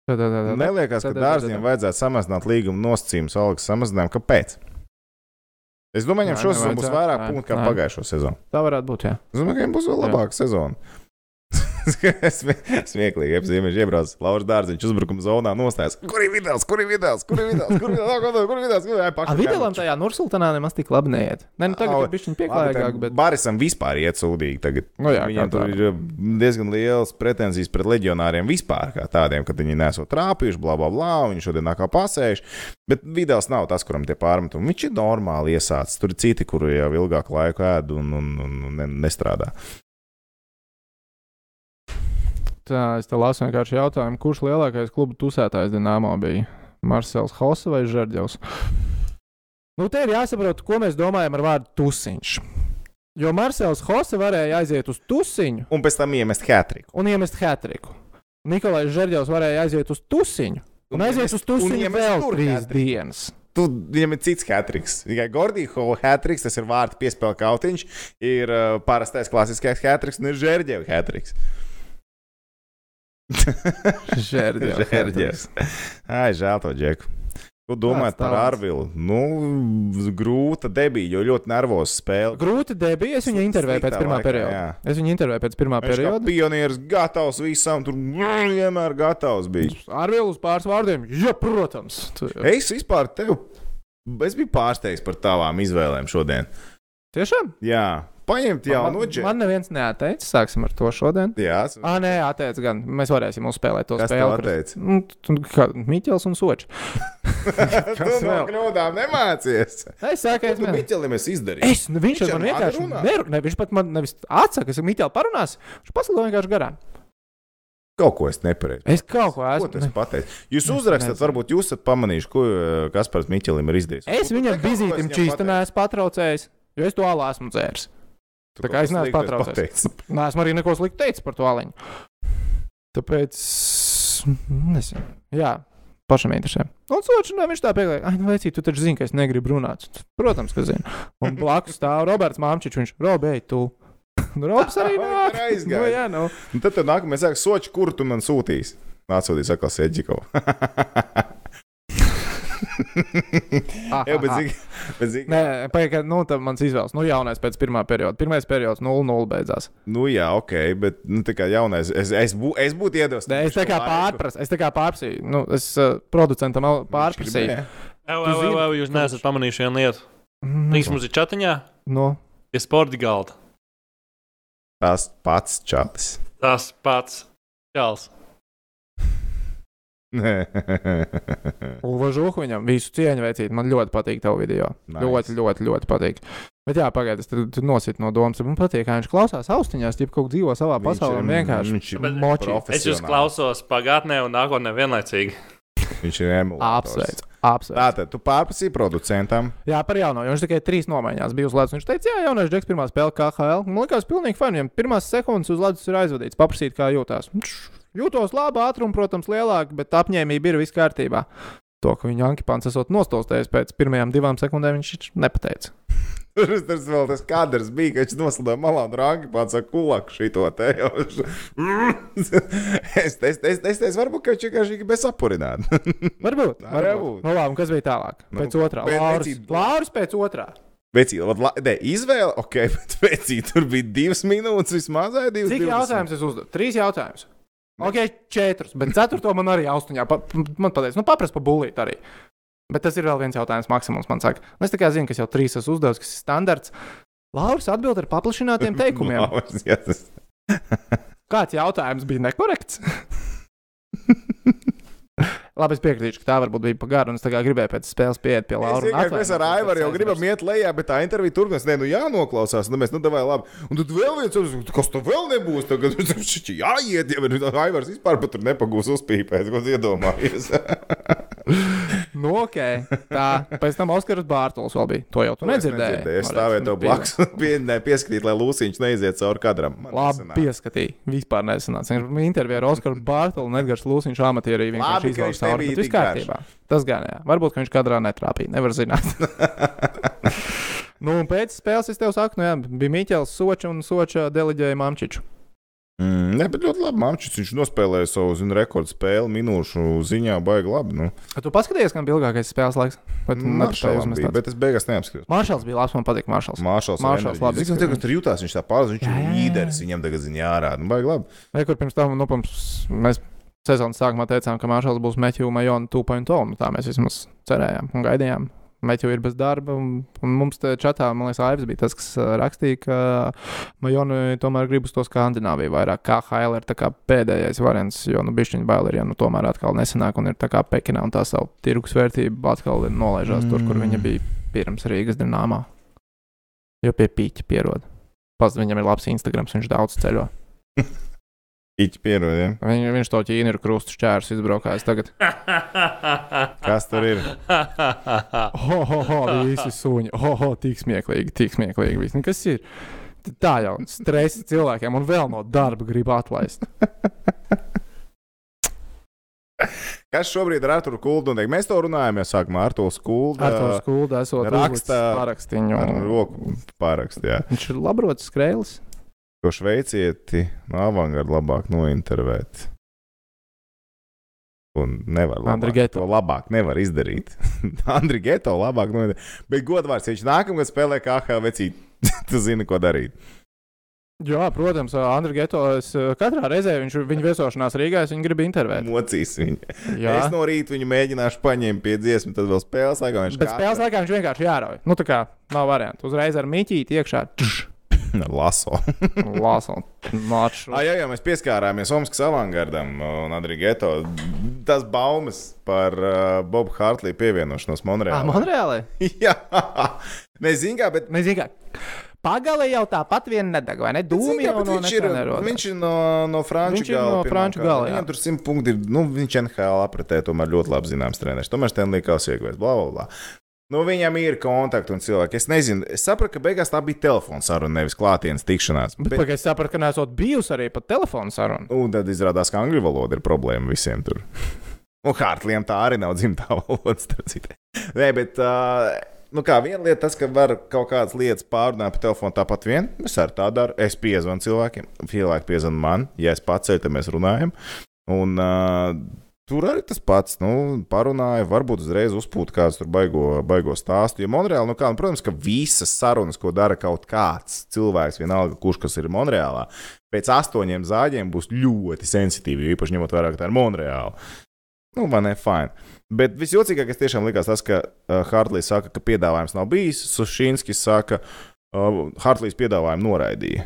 Speaker 1: Tā, tā, tā, tā.
Speaker 2: Neliekas, ka
Speaker 1: tā, tā, tā,
Speaker 2: dārziem
Speaker 1: tā.
Speaker 2: vajadzētu samazināt līguma nosacījumus, algas samazinājumu. Kāpēc? Es domāju, ka
Speaker 1: Nē,
Speaker 2: šo sezonu būs
Speaker 1: nevajadzētu.
Speaker 2: vairāk
Speaker 1: Nē,
Speaker 2: punktu kā
Speaker 1: nē.
Speaker 2: pagājušo sezonu.
Speaker 1: tā varētu būt. Jā.
Speaker 2: Es domāju, ka viņiem būs vēl
Speaker 1: Jā.
Speaker 2: labāka sezona. Smie- Smieklīgi, ja zīmēs iebrauc Lauris Dārziņš uzbrukuma zonā nostājas. Kur ir vidēls, kur ir vidēls, kur ir vidēls, kur ir vidēls, kur ir vidēls, kur ir
Speaker 1: Ar Vidēlam tajā Nursultānā nemaz tik labi neiet. Nē, nu
Speaker 2: Au,
Speaker 1: tagad ir bišķiņ pieklājīgāk, bet.
Speaker 2: Barisam vispār iet sūdīgi. Tagad.
Speaker 1: Nu jā,
Speaker 2: Viņam
Speaker 1: kā
Speaker 2: tur
Speaker 1: tā.
Speaker 2: ir uh, diezgan liels pretenzijas pret leģionāriem vispār, kā tādiem, ka viņi nesot trāpījuši, bla, bla, bla, un viņi šodien nāk kā pasējuši. Bet Vidāls nav tas, kuram tie pārmetumi. Viņš ir normāli iesācis. Tur ir citi, kuri jau ilgāku laiku ēd un, un, un, un ne- nestrādā.
Speaker 1: Tā, es te lasu vienkārši jautājumu, kurš lielākais klubu tusētājs Dienāmā bija? Marsēls Hosa vai Žerģels? Nu, te ir jāsaprot, ko mēs domājam ar vārdu tusiņš. Jo Marsēls Hosa varēja aiziet uz tusiņu
Speaker 2: Un pēc tam iemest hatriku.
Speaker 1: un iemest hatriku. Nikolais Žerģels varēja aiziet uz tusiņu un aiziet uz tusiņu vēl trīs
Speaker 2: hatriku.
Speaker 1: dienas.
Speaker 2: Tu, viņam ir cits hatriks. Tikai Gordīho hatriks, tas ir vārta piespēle kautiņš, ir uh, parastais klasiskais hatriks un ir žērģeva
Speaker 1: <laughs>
Speaker 2: hatriks.
Speaker 1: Žērģis.
Speaker 2: Žērģevs. Ai, žēl to džeku. Ko domājat
Speaker 1: Tāds
Speaker 2: par
Speaker 1: talants.
Speaker 2: Arvilu? Nu, grūta debija, jo ļoti nervoza spēle.
Speaker 1: Grūti debija. Es viņu
Speaker 2: Sliktā
Speaker 1: intervēju pēc pirmā
Speaker 2: laikā,
Speaker 1: perioda. Jā.
Speaker 2: jā.
Speaker 1: Es viņu intervēju pēc pirmā
Speaker 2: Viņš kā
Speaker 1: perioda.
Speaker 2: pionieris gatavs visam, tur <laughs> vienmēr gatavs bija.
Speaker 1: Ar vielu uz pāris vārdiem. Jā, protams. Tu,
Speaker 2: Es vispār tevi, es biju pārsteigts par tavām izvēlēm šodien.
Speaker 1: tiešām?
Speaker 2: Jā, paņemt jau no džeku.
Speaker 1: Man neviens neateica. Sāksim ar to šodien.
Speaker 2: Jā,
Speaker 1: Ah, nē, ateicis gan. Mēs varēsim uzspēlēt to
Speaker 2: Kas tev
Speaker 1: spēli. kuras- <laughs>
Speaker 2: ateica?
Speaker 1: Nu, tu- kā Miķels un Sočs.
Speaker 2: <laughs> tu
Speaker 1: Kas
Speaker 2: no
Speaker 1: vēl?
Speaker 2: kļūdām nemācies.
Speaker 1: Es saku, <laughs> es
Speaker 2: Tu
Speaker 1: nezinu.
Speaker 2: Miķelim es izdarīju.
Speaker 1: Es, nu, viņš
Speaker 2: Viņš
Speaker 1: ar
Speaker 2: ar
Speaker 1: mani
Speaker 2: mani
Speaker 1: vienkārši
Speaker 2: runā?
Speaker 1: nerunā. Ne, viņš pat man nevis atsakās, ka Miķēlis parunās. Viņš paslido vienkārši garām.
Speaker 2: Kaut ko es nepareizi.
Speaker 1: Es kaut ko
Speaker 2: Ko
Speaker 1: esmu.
Speaker 2: tu esi
Speaker 1: ne-
Speaker 2: pateicis? Jūs uzrakstat,
Speaker 1: nezinu.
Speaker 2: varbūt jūs esat pamanījuši, ko ā, Kaspars Miķelim ir izdarījis.
Speaker 1: Es
Speaker 2: Tu
Speaker 1: viņam
Speaker 2: kaut ko esi
Speaker 1: bizītam
Speaker 2: viņam
Speaker 1: čīstam
Speaker 2: pateicis.
Speaker 1: neesmu patraucējis, jo es to alā esmu dzēris.
Speaker 2: Tu
Speaker 1: Tā
Speaker 2: kaut
Speaker 1: kā es
Speaker 2: ko
Speaker 1: neesmu
Speaker 2: sliktu esi
Speaker 1: patraucējis. <laughs>
Speaker 2: pateicis.
Speaker 1: Nē, esmu arī neko sliktu teicis par to aliņu. Tāpēc. mm, Nezinu. Jā. Pašam interesē. Un sočs, nu, viņš tā pieklāja, ah, nu, vecīt, tu taču zini, ka es negribu runāt. Protams, ka zinu. Un blakus stāv Roberts Māmčiņš, viņš robēja tu. <laughs> Nu, Robs <laughs> arī
Speaker 2: <laughs> Vai
Speaker 1: nāk.
Speaker 2: tur
Speaker 1: Nu,
Speaker 2: aizgāja?
Speaker 1: jā, nu.
Speaker 2: Un Tad tev nākamais saka, soči, kur tu man sūtīsi? Nācoties atkal <laughs> Sēdžikovu.
Speaker 1: Ah,
Speaker 2: Jā,
Speaker 1: ah,
Speaker 2: bet
Speaker 1: ah.
Speaker 2: zini, bet zini,
Speaker 1: Nē, pagaidi, nu, tā mans izvēles. Nu, jaunais pēc pirmā perioda. Pirmais periods 0-0 beidzās.
Speaker 2: nu jā, ok, bet nu, tā kā jaunais, es, es, bū, es būtu iedos.
Speaker 1: Nē, es tā kā pārprasu, es tā kā pārprasīju. Nu, es uh, producentam al- pārprasīju.
Speaker 3: Evo,
Speaker 1: Tu
Speaker 3: evo,
Speaker 1: zini,
Speaker 3: evo, jūs neesat pamanījuši vienu lietu. Viņš mums ir čatiņā,
Speaker 1: Mm, Nu,
Speaker 3: pie sporta galda.
Speaker 2: Tas pats čalis.
Speaker 1: <laughs>
Speaker 3: Tas pats Čāls.
Speaker 1: Uva Žuhu viņam visu cieņu veicīt. Man ļoti patīk tavu video.
Speaker 2: Nice.
Speaker 1: Nice. Ļoti, ļoti, ļoti patīk. Bet jā, pagaidies, tad tu nosit no domas. Man patīk, kā viņš klausās austiņās, ja kaut kā dzīvo savā
Speaker 2: Viņš
Speaker 1: pasaulē.
Speaker 2: ir-
Speaker 1: un Vienkārši.
Speaker 2: Viņš ir
Speaker 3: Bet-
Speaker 1: Moči.
Speaker 3: Es jūs
Speaker 2: profesionāls.
Speaker 3: klausos pagātnē un nākotnē vienlaicīgi.
Speaker 2: Viņš ir emulators.
Speaker 1: Apsveic, apsveic.
Speaker 2: Tātad, tu pārprasīji producentam. <laughs>
Speaker 1: Jā, par jauno. jo Viņš tikai trīs nomaiņās bija uz ledus. Viņš teica, jā, jaunais džeks, pirmā spēle KHL. Man liekas, pilnīgi fani. Viņam pirmās sekundes uz ledus ir aizvadīts. Paprasīt, kā jūtās. Viņš Jūtos labi, ātrums, protams, lielāk, bet apņēmība ir viss kārtībā. To, ka viņa ankipāns esot nostostējis pēc pirmajām divām sekundēm, viņš taču nepateica.
Speaker 2: Tur tas- tas vēl tas kadrs bija, ka viņš noslēdza malā un rāgi pats ar kulaku šito te jau. <laughs> Es teicu, es teicu, varbūt ka viņš vienkārši ir bezapurināts.
Speaker 1: Varbūt. varbūt.
Speaker 2: Tā varbūt.
Speaker 1: Nu, labi, un kas bija tālāk?
Speaker 2: Nu,
Speaker 1: Pēc otrā.
Speaker 2: pēc-
Speaker 1: Lauris,
Speaker 2: pēc-
Speaker 1: Lauris pēc otrā.
Speaker 2: <laughs> Vecī, labi, la, ne, izvēle, ok, <laughs> bet vecī, tur bija divas minūtes vismaz, vai divas
Speaker 1: Cik
Speaker 2: 20?
Speaker 1: jautājumus es uzdevu? Trīs jautājumus. Ok, četrus, bet ceturto man arī austiņā. Pa, man pateica, nu paprast pa bulīt arī. Bet tas ir vēl viens jautājums, maksimums man saka. Un Es tikai zinu, kas jau trīs esmu uzdevis, kas ir standarts. Lauris atbild ar
Speaker 2: <laughs>
Speaker 1: paplašinātiem teikumiem.
Speaker 2: Lauris, jā, tas...
Speaker 1: Kāds jautājums bija
Speaker 2: <laughs>
Speaker 1: nekorekts? Labi, es piekrītu, ka tā varbūt bija pagāra, un es tā kā gribēju pēc spēles pieiet pie
Speaker 2: Es
Speaker 1: Laura.
Speaker 2: vienkārši mēs ar Aivaru jau gribam iet lejā, bet tā intervija turpinās. Nē, nu jānoklausās, nu mēs, nu, davai labi. Un tad vēl viens, un kas tu vēl nebūs, tagad <laughs> šķiet jāiet, ja bet nu, Aivars vispār pat tur nepagūs uzpīpēt, ko tu
Speaker 1: <laughs>
Speaker 2: iedomājies.
Speaker 1: Nu, ok. Tā, pēc tam Oskaras Bārtaļs vēl bija. To jau tu nedzirdēji.
Speaker 2: Nu,
Speaker 1: nu,
Speaker 2: Es stāvēju tev blakus <laughs> un pie, ne, pieskatīju, lai Lūsīņš neiziet cauri kadram. Man
Speaker 1: Labi,
Speaker 2: nesanāk.
Speaker 1: pieskatīja. Vispār nesanāca. Viņam intervijā ar Oskaru Bārtaļu un Edgars Lūsiņš amatierī
Speaker 2: Labi,
Speaker 1: vienkārši
Speaker 2: ka viņš
Speaker 1: izvēlējās cauri.
Speaker 2: nebija
Speaker 1: bet Viss
Speaker 2: tik garš.
Speaker 1: kārtībā. Tas gan jā. Varbūt, ka viņš kadrā netrāpīja. Nevar
Speaker 2: <laughs>
Speaker 1: zināt. nu, un pēc spēles es tev saku, nu jā, bija Miķels Soča un Soča deleģēja Mamčiču.
Speaker 2: Mm, nē, bet ļoti labi. Mamčis, viņš nospēlēja savu, zinu, rekordu spēli minūšu ziņā, baigi labi. Nu.
Speaker 1: Vai tu paskatījies, kam bija ilgākais spēles laiks? Vai tu nepaspēji
Speaker 2: Maršalam
Speaker 1: uzmest
Speaker 2: bija,
Speaker 1: tādu?
Speaker 2: bet es beigās neapskatījos.
Speaker 1: Maršals bija labs, man patīk Maršals.
Speaker 2: Māršals
Speaker 1: Maršals labi
Speaker 2: Zinu,
Speaker 1: izskatās.
Speaker 2: tagad tur jutās, viņš tā pārzina, viņš
Speaker 1: Jā, jā,
Speaker 2: ir
Speaker 1: jā.
Speaker 2: līderis, viņam tagad zina jārāda. Nu, baigi labi.
Speaker 1: Vai kur pirms tam, nu, pirms mēs sezonas sākumā teicām, ka Māršals būs Metju Majona 2.0, nu tā mēs vismaz cerējām un gaidījām. Metju ir bez darba, un, un mums te čatā, man liekas, Aivs bija tas, kas ā, rakstīja, ka Majona tomēr grib uz to Skandināviju vairāk, kā Hailera, tā kā pēdējais variants, jo, nu, bišķiņa baileriem, nu, tomēr atkal nesenāk un ir tā kā Pekinā, un tā savu tirgus vērtību atkal ir nolaižās mm. tur, kur viņa bija pirms Rīgas dināmā. Jo pie pīķa pierod. Pazd, viņam ir labs Instagrams, viņš daudz ceļo.
Speaker 2: Iķi pierod, ja?
Speaker 1: Viņ, viņš to ķīni ir krustu šķērs izbraukājis tagad.
Speaker 2: Kas tur ir?
Speaker 1: Ho, ho, ho, visi suņi. Ho, ho, tik smieklīgi, tik smieklīgi. Visi. Nu, Kas ir? T- Tā jau stresa cilvēkiem
Speaker 2: <laughs>
Speaker 1: un vēl no darba grib atlaist.
Speaker 2: Kas šobrīd ir Artur Kuldu? Mēs to runājam, jau sākumā Artur Kuldu.
Speaker 1: Ar to skuldu esot raksta
Speaker 2: raksta-
Speaker 1: pārakstiņu.
Speaker 2: Ar roku pārakstījā.
Speaker 1: Viņš ir labrots skrējlis.
Speaker 2: To šveicieti no avangarda labāk nointervēt. Un nevar
Speaker 1: Andri
Speaker 2: labāk,
Speaker 1: Geto.
Speaker 2: to labāk nevar izdarīt. <laughs> Andri Geto labāk nointervēt. Bet godvārds, ja viņš nākamgad spēlē KHL vecīt, <laughs> tu zini, ko darīt.
Speaker 1: Jā, protams, Andriņš Geto. Es eh, katrā reizē viņš, viņa viesošanās Rīgā es viņu gribu intervēt.
Speaker 2: Mocīs viņu. Jā.
Speaker 1: Jā,
Speaker 2: Nu, Es no rīta viņu mēģināšu paņemt pie dziesmu, tad vēl spēles sākumā viņš
Speaker 1: bet spēles laikā viņš vienkārši jārauj. Nu, tā kā nav variantu. Uzreiz ar mītīti iekšā
Speaker 2: laikā <laughs> laso.
Speaker 1: <laughs> lāsām. Mačs.
Speaker 2: Ah, jā, jā, mēs pieskārāmies Omaskas avangardam uh, un Andriņu Geto. Tas baumas par uh, Bobu Hartliju pievienošanos Monreālā.
Speaker 1: Ah, Monreālē?
Speaker 2: <laughs> Jā, nezinu, kā, bet.
Speaker 1: Nezinu, kā. Pagalē jau tāpat vien nedeg, vai ne? Dūmi
Speaker 2: Zini kā,
Speaker 1: jau
Speaker 2: bet
Speaker 1: no
Speaker 2: viņš, ir, viņš ir no, no
Speaker 1: Viņš
Speaker 2: Frančijas.
Speaker 1: ir no franču gala, jā.
Speaker 2: Viņam tur simt punkti ir. Nu, viņš NHL apritē, tomēr ļoti labi zināms treneris. Tomēr Stanley Kaus iegūs, bla, bla, bla. Nu, viņam ir kontakti un cilvēki. Es nezinu, es sapratu, ka beigās tā bija telefona saruna, nevis klātienes tikšanās.
Speaker 1: Bet, bet... es sapratu, ka nesot bijusi arī pat telefona saruna.
Speaker 2: Un tad izrādās, ka angļu valoda ir problēma visiem tur. Un Hartlīnam tā arī nav dzimtā <laughs> valoda, starp citu. Nē, bet uh, nu kā, viena lieta, tas, ka var kaut kādas lietas pārrunāt pa telefonu tāpat vien. Es arī tā daru. Es piezvanu cilvēkiem, cilvēki piezvan man, ja es paceļu, tad mēs runājam. Un, uh, Tur arī tas pats, nu, parunāja, varbūt uzreiz uzpūta kāds tur baigo, baigo stāstu. Jo Monreālā, nu, kā, nu, protams, ka visas sarunas, ko dara kaut kāds cilvēks, vienalga, kurš kas ir Monreālā, pēc astoņiem zāģiem būs ļoti sensitīvi, jo īpaši ņemot vērā, ka tā ir Monreāla. Nu, man ir fajn. Bet visjocīgākais tiešām likās tas, ka uh, Hartlīs saka, ka piedāvājums nav bijis. Sušinskis saka, uh, Hartlīs piedāvājumu noraidīja.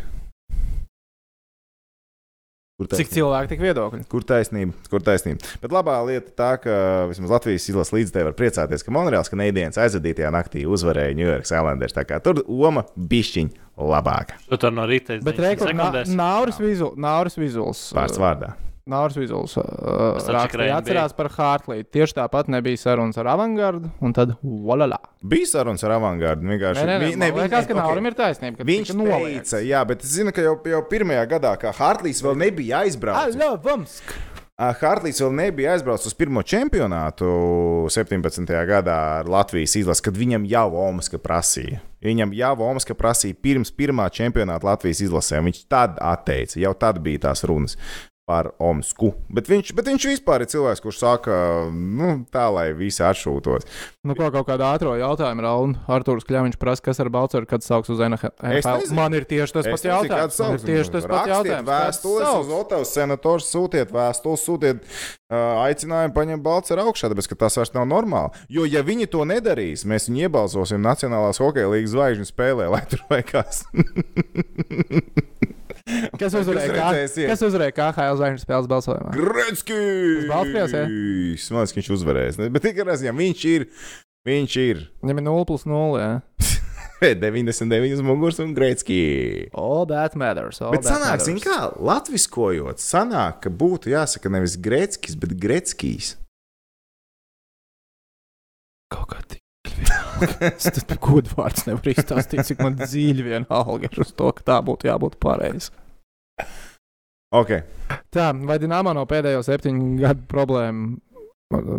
Speaker 2: Kur
Speaker 1: Cik cilvēki tik viedokļi?
Speaker 2: Kur taisnība, kur taisnība. Bet labā lieta tā, ka uh, vismaz Latvijas izlases līdzekļi var priecāties, ka Monreāls Kanādienas aizvadītajā naktī uzvarēja New York Islanders. Tā kā tur Oma bišķiņa labāka.
Speaker 3: Tu tur no rīta
Speaker 1: Bet rekords
Speaker 3: sekundēs.
Speaker 1: Nauris Vizuls. Nauris Vizuls.
Speaker 2: Vārds vārdā.
Speaker 1: Nauris Vizuls.
Speaker 3: Es
Speaker 1: Uh,
Speaker 3: atceros, ka
Speaker 1: rakstīja,
Speaker 3: Reina bija.
Speaker 1: atcerās par Hartliju. Tieši tāpat nebija sarunas ar avangardu, un tad volalā.
Speaker 2: Bija sarunas ar avangardu. Vienkārši Vi-
Speaker 1: Man
Speaker 2: viņi-
Speaker 1: liekas, ka
Speaker 2: ok.
Speaker 1: Naurim ir taisnība.
Speaker 2: Viņš teica, jā, bet es zinu, ka jau, jau pirmajā gadā, kad Hartlīs vēl nebija aizbraucis,
Speaker 1: Alovamsk!
Speaker 2: Ā, Hartlīs vēl nebija aizbraucis uz pirmo čempionātu 17. gadā ar Latvijas izlasi, kad viņam jau Omaska prasīja. Viņam jau Omaska prasīja pirms pirmā čempionāta Latvijas izlasē, un viņš tad atteica. Jau tad bija tās runas par Omasku. Bet viņš, bet viņš vispār ir cilvēks, kurš saka, nu, tā lai visi atšūtos.
Speaker 1: Nu, ko kaut kādā ātrā jautājumā, Rauna. Arthurs Kļāviņš prasa, kas ar Balčūsku kad sauks uz
Speaker 2: Es
Speaker 1: NHL.
Speaker 2: nezinu.
Speaker 1: Man ir tieši tas pats jautājums. Man ir tieši tas pats jautājums. Kāds
Speaker 2: Vēstules
Speaker 1: sauks?
Speaker 2: uz Otavas senatoru sūtiet, vēstules sūtiet, uh, aicinājumu paņemt balts ar augšā, tāpēc ka tas vairs nav normāli. Jo, ja viņi to nedarīs, mēs viņu iebalsosim Nacionālās hokeja līnijas zvaigžņu spēlē, lai tur vai
Speaker 1: <laughs>
Speaker 2: kas.
Speaker 1: Kas uzvarēja? Kā,
Speaker 2: redzēsiet?
Speaker 1: kas uzvarēja KHL zvaigžņu spēles balsojumā?
Speaker 2: Gretzky!
Speaker 1: Uz Baltkrievs, ja?
Speaker 2: Man liekas, ka viņš uzvarēs. Ne? Bet tikai reizē viņš ir. Viņš ir <laughs>
Speaker 1: Viņam ir 0 plus 0. Jā.
Speaker 2: 99 uz muguras un Gretzky.
Speaker 1: All that matters. All
Speaker 2: Bet
Speaker 1: that
Speaker 2: sanāk,
Speaker 1: matters.
Speaker 2: zin kā, latviskojot, sanāk, ka būtu jāsaka nevis Gretzkis, bet
Speaker 1: <laughs>
Speaker 2: Gretzkijs.
Speaker 1: Kaut kā tik. <laughs> Es tam godvārds nevar izstāstīt, cik man dzīvi vienalga ir uz to, ka tā būtu jābūt pareizi.
Speaker 2: Okay.
Speaker 1: Tā, vai Dienāmā no pēdējo septiņu gadu problēmu?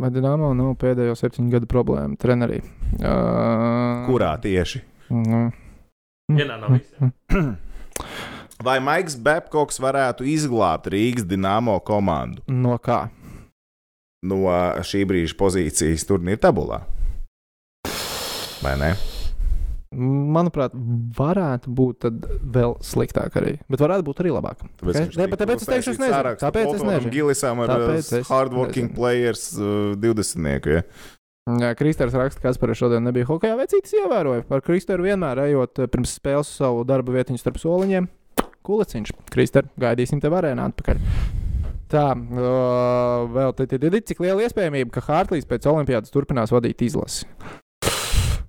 Speaker 1: Vai Dienāmā nav pēdējo septiņu gadu problēma? Trenerī. Uh,
Speaker 2: Kurā tieši?
Speaker 1: Mhm.
Speaker 3: Vienā no visiem.
Speaker 2: Vai Maiks Babkoks varētu izglābt Rīgas dīnāmo komandu
Speaker 1: No kā?
Speaker 2: no šī brīža pozīcijas turnīra tabulā? Vai ne?
Speaker 1: Manuprāt, varētu būt tad vēl sliktāk arī. Bet varētu būt arī labāk. Ok.
Speaker 2: Tāpēc, ka viņš
Speaker 1: Ne, bet
Speaker 2: tikko
Speaker 1: tāpēc es teikšu, es
Speaker 2: uztaisīja
Speaker 1: nezinu.
Speaker 2: sārakstu
Speaker 1: Tāpēc es
Speaker 2: Popovam,
Speaker 1: nezinu.
Speaker 2: Gilisam ar
Speaker 1: Tāpēc
Speaker 2: uh,
Speaker 1: es
Speaker 2: hardworking
Speaker 1: nezinu.
Speaker 2: players uh, 20. Ja?
Speaker 1: Jā, Kristers raksta, ka Kasparis šodien nebija hokeja vecītis. Ievēroju par Kristeru vienmēr ejot eh, pirms spēles uz savu darbu vietiņu starp soliņiem. Kuliciņš, Krister, gaidīsim tev arēnā atpakaļ. Tā, o, vēl te ir cik liela iespējamība, ka Hārtlīs pēc olimpiādas turpinās vadīt izlasi.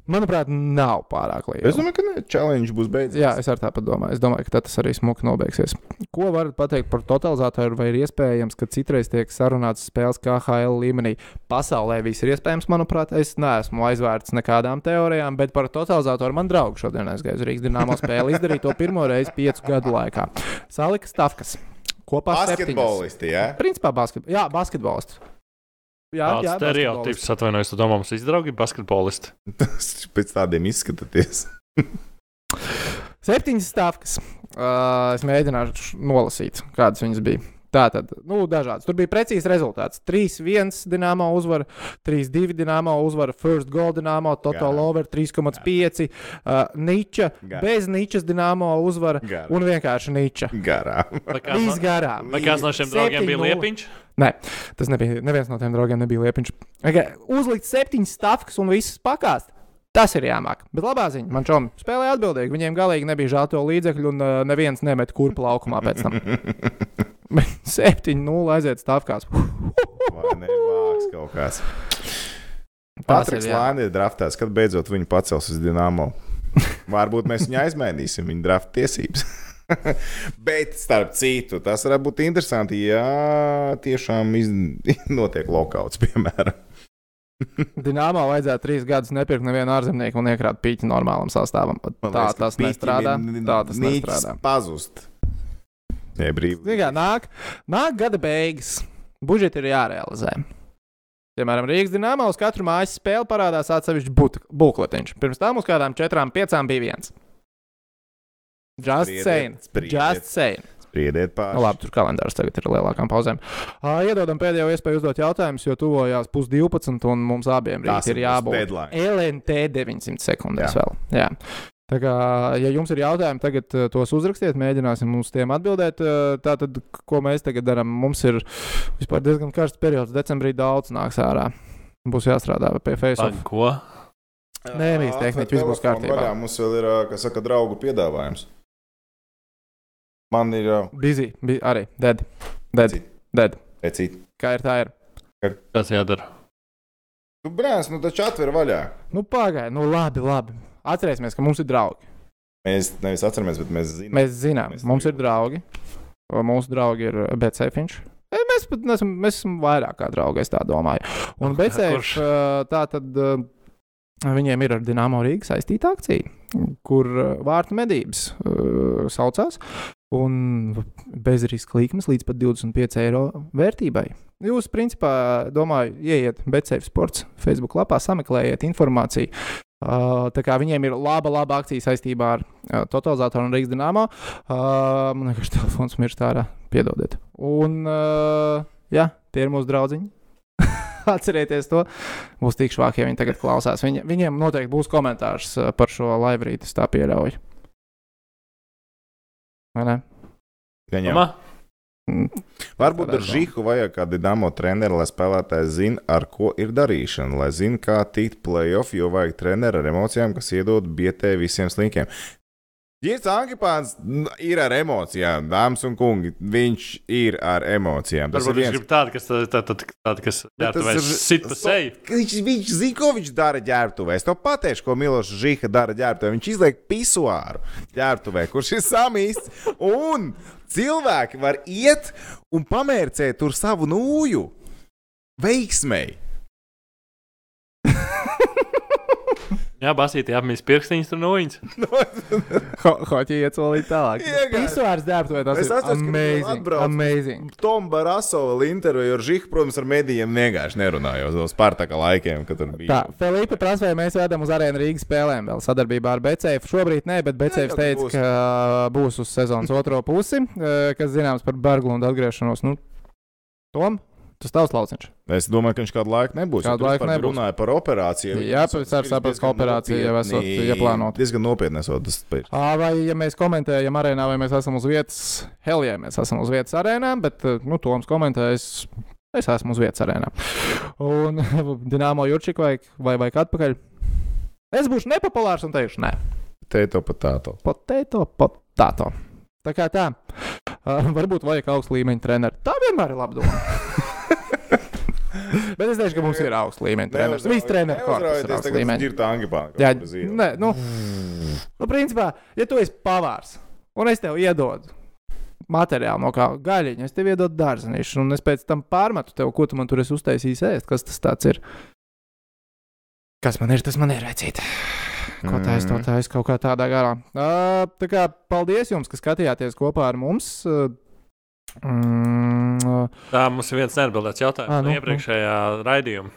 Speaker 1: Manuprāt, nav pārāk liela.
Speaker 2: Es domāju, ka ne, challenge būs beidzies.
Speaker 1: Jā, es arī tāpat domāju. Es domāju, ka tad tas arī smuki nobeigsies. Ko varat pateikt par totalizatoru? Vai ir iespējams, ka citreiz tiek sarunāts spēles KHL līmenī? Pasaulē viss ir iespējams, manuprāt. Es neesmu aizvērts nekādām teorijām, bet par totalizatoru man draugu šodien aizgāja uz Rīgas dīnāmo spēli. Izdarīja to pirmo reizi piecu gadu laikā. Salika Stavkas kopā ar
Speaker 2: Basketbolisti, jā.
Speaker 1: Principā basketbolists. Jā, basketbolists. Jā,
Speaker 3: Tāds
Speaker 1: jā,
Speaker 3: stereotips, atvainojos, tu domā, mums visi draugi ir basketbolisti.
Speaker 2: Tas <laughs> pēc tādiem izskatāties.
Speaker 1: Septiņas stāvkas. Uh, es mēģināšu š- nolasīt, kādas viņas bija. Tā tad, nu, dažādas. Tur bija precīzs rezultāts. 3-1 dīnāmā uzvara, 3-2 dīnāmā uzvara, first goal dīnāmā, total
Speaker 2: Gara.
Speaker 1: over 3,5, uh, niča,
Speaker 2: Gara.
Speaker 1: bez ničas dīnāmā uzvara
Speaker 2: Gara.
Speaker 1: un vienkārši niča.
Speaker 2: Garā.
Speaker 3: Vai kāds
Speaker 1: Viss
Speaker 3: no-
Speaker 1: garām.
Speaker 3: vai kāds no šiem draugiem bija
Speaker 1: 7:0.
Speaker 3: liepiņš?
Speaker 1: Nē, tas nebija. Neviens no tiem draugiem nebija liepiņš. Okay. Uzlikt septiņas stāvkas un visas pakāst. Tas ir jāmāk. Bet labā ziņa, man čom spēlēja atbildīgi. Viņiem galīgi nebija žēl to līdzekļu, un uh, neviens nemet kurpā laukumā pēc
Speaker 2: <laughs>
Speaker 1: tam. Bet 7-0 aiziet stāvkās.
Speaker 2: Vai ne vāks kaut kāds?
Speaker 1: Tas ir
Speaker 2: Patriks
Speaker 1: jā.
Speaker 2: Lāne ir draftēts, kad beidzot viņu pacels uz Dienāmo. Varbūt mēs viņu aizmainīsim, viņa drafta tiesības. <laughs> Bet, starp citu, tas varētu būt interesanti, ja tiešām iz... <laughs> notiek lokauts, piemēram.
Speaker 1: Dināmā vajadzētu trīs gadus nepirkt nevienu ārzemnieku un iekrāt pīķi normālam sastāvam.
Speaker 2: Man
Speaker 1: Tā
Speaker 2: liekas, ka
Speaker 1: tas
Speaker 2: piķim
Speaker 1: nestrādā.
Speaker 2: ir n-
Speaker 1: Tā tas
Speaker 2: niķis
Speaker 1: nestrādā. nu,
Speaker 2: Pazust. Jā, brīvi.
Speaker 1: Vienkār, nāk, nāk gada beigas. Budžeti ir jārealizē. Piemēram, Rīgas dīnāmā uz katru mājas spēli parādās atsevišķs but- bukletiņš. Pirms tam uz kādām četrām, piecām bija viens. Just
Speaker 2: Spriediet,
Speaker 1: saying.
Speaker 2: spriediet.
Speaker 1: Just saying.
Speaker 2: Spriediet pāri.
Speaker 1: Nu, labi, tur kalendārs tagad ir lielākām pauzēm. Ā, Iedodam pēdējo iespēju uzdot jautājumus, jo tuvojās pusdivpadsmit un mums abiem
Speaker 2: Tas
Speaker 1: rīt ir
Speaker 2: ir mūsu
Speaker 1: jābūt
Speaker 2: deadline.
Speaker 1: LNT 900 sekundēs
Speaker 2: Jā.
Speaker 1: vēl. Jā. Tā kā, ja jums ir jautājumi, tagad eh, tos uzrakstiet, mēģināsim uz tiem atbildēt. Eh, Tātad, k- ko mēs tagad darām? Mums ir vispār diezgan karsts periods. Decembrī daudz nāks ārā. Būs jāstrādā pie Facebook.
Speaker 3: Pag, Ko?
Speaker 1: Nē, mīs, tehniķi, viss būs kārtībā.
Speaker 2: Jā, Ah, mums vēl ir, kā saka, draugu piedāvājums. Man ir ā,
Speaker 1: Busy, bi arī dead. Dead.
Speaker 2: Busy.
Speaker 1: dead.
Speaker 2: pēc cita.
Speaker 1: Kā ir tā ir?
Speaker 3: Kas jādara?
Speaker 2: Nu, brāns, nu taču atver vaļā.
Speaker 1: Nu, pagaidi, nu labi, labi. Atcerēsimies, ka mums ir draugi.
Speaker 2: Mēs nevis atceramies, bet mēs zinām.
Speaker 1: Mēs zinām,
Speaker 2: Mēs
Speaker 1: mums ir
Speaker 2: tagad-
Speaker 1: draugi. Mūsu draugi ir Bēcēfiņš. Mēs pat nesam, mēs esam vairāk kā draugi, es tā domāju. Un Bēcēfiņš
Speaker 3: Kurš?
Speaker 1: tā tad. uh, Viņiem ir ar Dienāmo Rīgas saistīta akcija, kur uh, vārtu medības uh, saucās. Un bez riska līnijas līdz pat 25 eiro vērtībai. Jūs, principā, domāju, ieiet Bēcēfiņš sports, Facebook lapā, sameklējiet informāciju. Uh, tā kā viņiem ir laba, laba akcija saistībā ar uh, totalizatoru un Rīgas dīnāmo. Uh, man liekas, <laughs> telefons mirst ārā. Piedodiet. Un, uh, jā, tie ir mūsu draugiņi. <laughs> Atcerieties to. Būs tik švāki, ja viņi tagad klausās. Viņi, viņiem noteikti būs komentārs uh, par šo laivu rītu. es Tā pierauju. Vai ne?
Speaker 2: Gaņam.
Speaker 3: Mamā?
Speaker 1: Mm,
Speaker 2: Varbūt
Speaker 1: Tādā
Speaker 2: ar Žīku vajag kādu dāmo treneru, lai spēlētājs zina, ar ko ir darīšana, lai zina, kā tikt playoff, jo vajag treneru ar emocijām, kas iedod bietē visiem slinkiem. Jēzus Ankipāns n- ir ar emocijām, dāmas un kungi. Viņš ir ar emocijām. Tas
Speaker 3: Varbūt
Speaker 2: ir
Speaker 3: viņš
Speaker 2: viens.
Speaker 3: grib tādu, kas tādu, tādu, tādu kas
Speaker 2: Bet
Speaker 3: ģērbtu vai
Speaker 2: ir-
Speaker 3: sit pa
Speaker 2: sto-
Speaker 3: seju.
Speaker 2: Viņš, viņš zina, ko viņš dara ģērbtuvē. Es to pateikšu, ko Miloša Žīka dara ģērbtuvē. Viņš izliek pisuāru ģērbtuvē, kurš ir samīsts. Un cilvēki var iet un pamērcēt tur savu nūju veiksmēji.
Speaker 3: Jā, basīt, apmīs pirkstiņas tur noiņas.
Speaker 1: <laughs> Ho- Hoķi iet solīt tālāk.
Speaker 2: Iegāju.
Speaker 1: Pisuārs dēbtu, vai tas
Speaker 2: Es
Speaker 1: ir
Speaker 2: atceros, ka viņi
Speaker 1: amazing.
Speaker 2: atbrauca.
Speaker 1: amazing.
Speaker 2: Tom Barasovs intervijā ar Žīku, protams, ar medijiem vienkārši nerunājot. Uz Spartaka laikiem, kad tur bija.
Speaker 1: Tā, Filipa transferē mēs vedam uz arēnu Rīgas spēlēm vēl sadarbībā ar Becēju. Šobrīd nē, bet Becējs
Speaker 2: jau
Speaker 1: teica,
Speaker 2: būs.
Speaker 1: būs. ka būs uz sezonas otro pusi, eh, kas zināms par Berglundu atgriešanos. Nu, Tom, tas tavs lauciņš.
Speaker 2: Es domāju, ka viņš kādu laiku nebūs.
Speaker 1: Kādu
Speaker 2: jo tur
Speaker 1: laiku
Speaker 2: vispār
Speaker 1: nebūs.
Speaker 2: Runāja par operāciju.
Speaker 1: Jā, pēc tam sapratu, ka operācija jau esot ieplānota.
Speaker 2: Diezgan nopietni esot. Tas ir.
Speaker 1: Ā, Vai, ja mēs komentējam arēnā, vai mēs esam uz vietas, Helijā mēs esam uz vietas arēnā, bet, eh, nu, Toms komentēs, es esmu uz vietas arēnā. Un <laughs> Dināmo Jurčik vajag, vai vajag atpakaļ? Es būšu nepopulārs un teikšu nē.
Speaker 2: Teito patāto.
Speaker 1: Potato, potato. Tā kā tā. Uh, varbūt vajag augstu līmeņa treneru. Tā vienmēr ir laba doma. Bet es teikšu, ka mums ir augsts līmenis. Treneris. Viss treneris korpus ir augsts līmenis.
Speaker 2: ir tā angipāna.
Speaker 1: Jā, nē, nu, nu, principā, ja tu esi pavārs un es tev iedodu materiālu no kā gaļiņa, es tev iedodu dārzenīšu, un es pēc tam pārmetu tev, ko tu man tur esi uztaisījis ēst, kas tas tāds ir. Kas man ir, tas man ir redzīt. Ko tā es to
Speaker 2: Mm.
Speaker 1: taisu kaut kā tādā garā. Uh, tā kā paldies jums, ka skatījāties kopā ar mums. Uh, Mm,
Speaker 3: Tā mums ir viens neatbildēts jautājums
Speaker 1: Ā,
Speaker 3: no
Speaker 1: nu, nu.
Speaker 3: iepriekšējā raidījuma.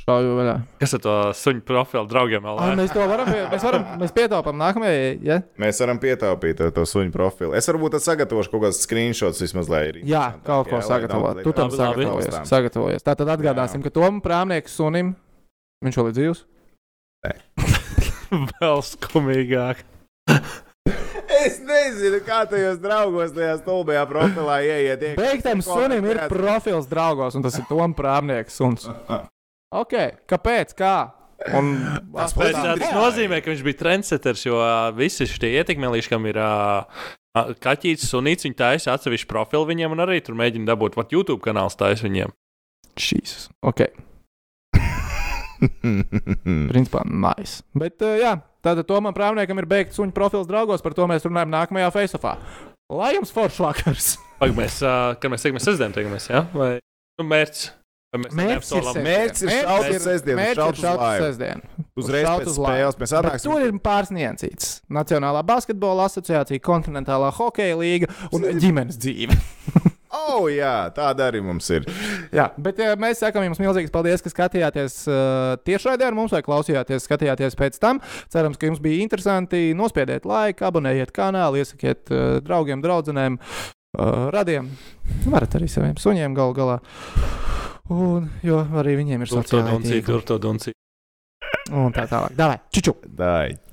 Speaker 1: šauju vaļā.
Speaker 3: Kas ar to suņu profilu draugiem vēl?
Speaker 1: Ai,
Speaker 3: lēš?
Speaker 1: Mēs to varam, pie- mēs varam, mēs pietaupām nākamajai. Ja?
Speaker 2: Mēs varam pietaupīt to, to suņu profilu. Es varbūt tad sagatavošu kaut kādas screenshots vismaz, lai ir.
Speaker 1: Jā,
Speaker 2: interesantāk,
Speaker 1: kaut ko
Speaker 2: lai
Speaker 1: sagatavot.
Speaker 2: daudz-
Speaker 1: Tu tam
Speaker 3: labi, labi.
Speaker 1: sagatavojies.
Speaker 2: Taustām.
Speaker 1: sagatavojies. Tā tad atgādāsim, ka Tomam prāmnieku sunim viņš vēl ir dzīvs.
Speaker 3: <laughs> vēl skumīgāk.
Speaker 2: Es nezinu, kā tajos draugos, tajā stulbajā profilā ieiet. iekšā.
Speaker 1: Beigtam sunim ir profils draugos, un tas ir Tomam prāmnieku suns. Ok, kāpēc? Kā? Un,
Speaker 2: <laughs> Tas
Speaker 3: Bet,
Speaker 2: Pēc
Speaker 3: tā, tas
Speaker 2: drīz.
Speaker 3: nozīmē, ka viņš bija trendsetters, jo ā, visi šie ietekmēlīši, kam ir ā, ā, kaķītis un īcis, viņi taisa atsevišķu profilu viņiem un arī tur mēģina dabūt pat YouTube kanāls taisa viņiem.
Speaker 1: Šīs. Ok, <laughs> principā nice. Bet, uh, jā, tātad Tomam prāmniekam ir beigts suņu profils draugos, par to mēs runājam nākamajā face-offā. Lai jums foršs <laughs> vakars!
Speaker 3: Pag, mēs, ā, kad mēs tiekamies sestdien, tiekamies, jā? Vai nu, mērķis? Vai mēs
Speaker 1: Mērķis ir
Speaker 3: neapsolam?
Speaker 1: sestdien.
Speaker 2: Mērķis ir
Speaker 1: Mērķis
Speaker 2: šaut
Speaker 1: ir-
Speaker 2: uz sestdienu,
Speaker 1: mērķis ir
Speaker 2: šaut uz
Speaker 1: šaut uz
Speaker 2: laivu.
Speaker 1: sestdienu.
Speaker 2: Uzreiz
Speaker 1: Šaut
Speaker 2: pēc
Speaker 1: uz laivu.
Speaker 2: spēles mēs
Speaker 1: Bet Tur
Speaker 2: atnāksim. <laughs>
Speaker 1: ir pārsniedzis Nacionālā basketbola asociācija, kontinentālā hokeja līga un ģimenes dzīve. <laughs>
Speaker 2: O, Oh, jā, tāda arī mums ir.
Speaker 1: Jā, bet ja, mēs sakām jums milzīgs paldies, ka skatījāties uh, tiešraidē ar mums vai klausījāties, skatījāties pēc tam. Cerams, ka jums bija interesanti. Nospiediet laiku, abonējiet kanālu, iesakiet uh, draugiem, draugiem, uh, radiem. Varat arī saviem suņiem galu galā. Un, jo arī viņiem ir
Speaker 3: Tur to
Speaker 1: sociālai
Speaker 3: duncī,
Speaker 1: tīkli
Speaker 3: tur to duncī.
Speaker 1: un tā tālāk. Davai, čiču!
Speaker 2: Dai.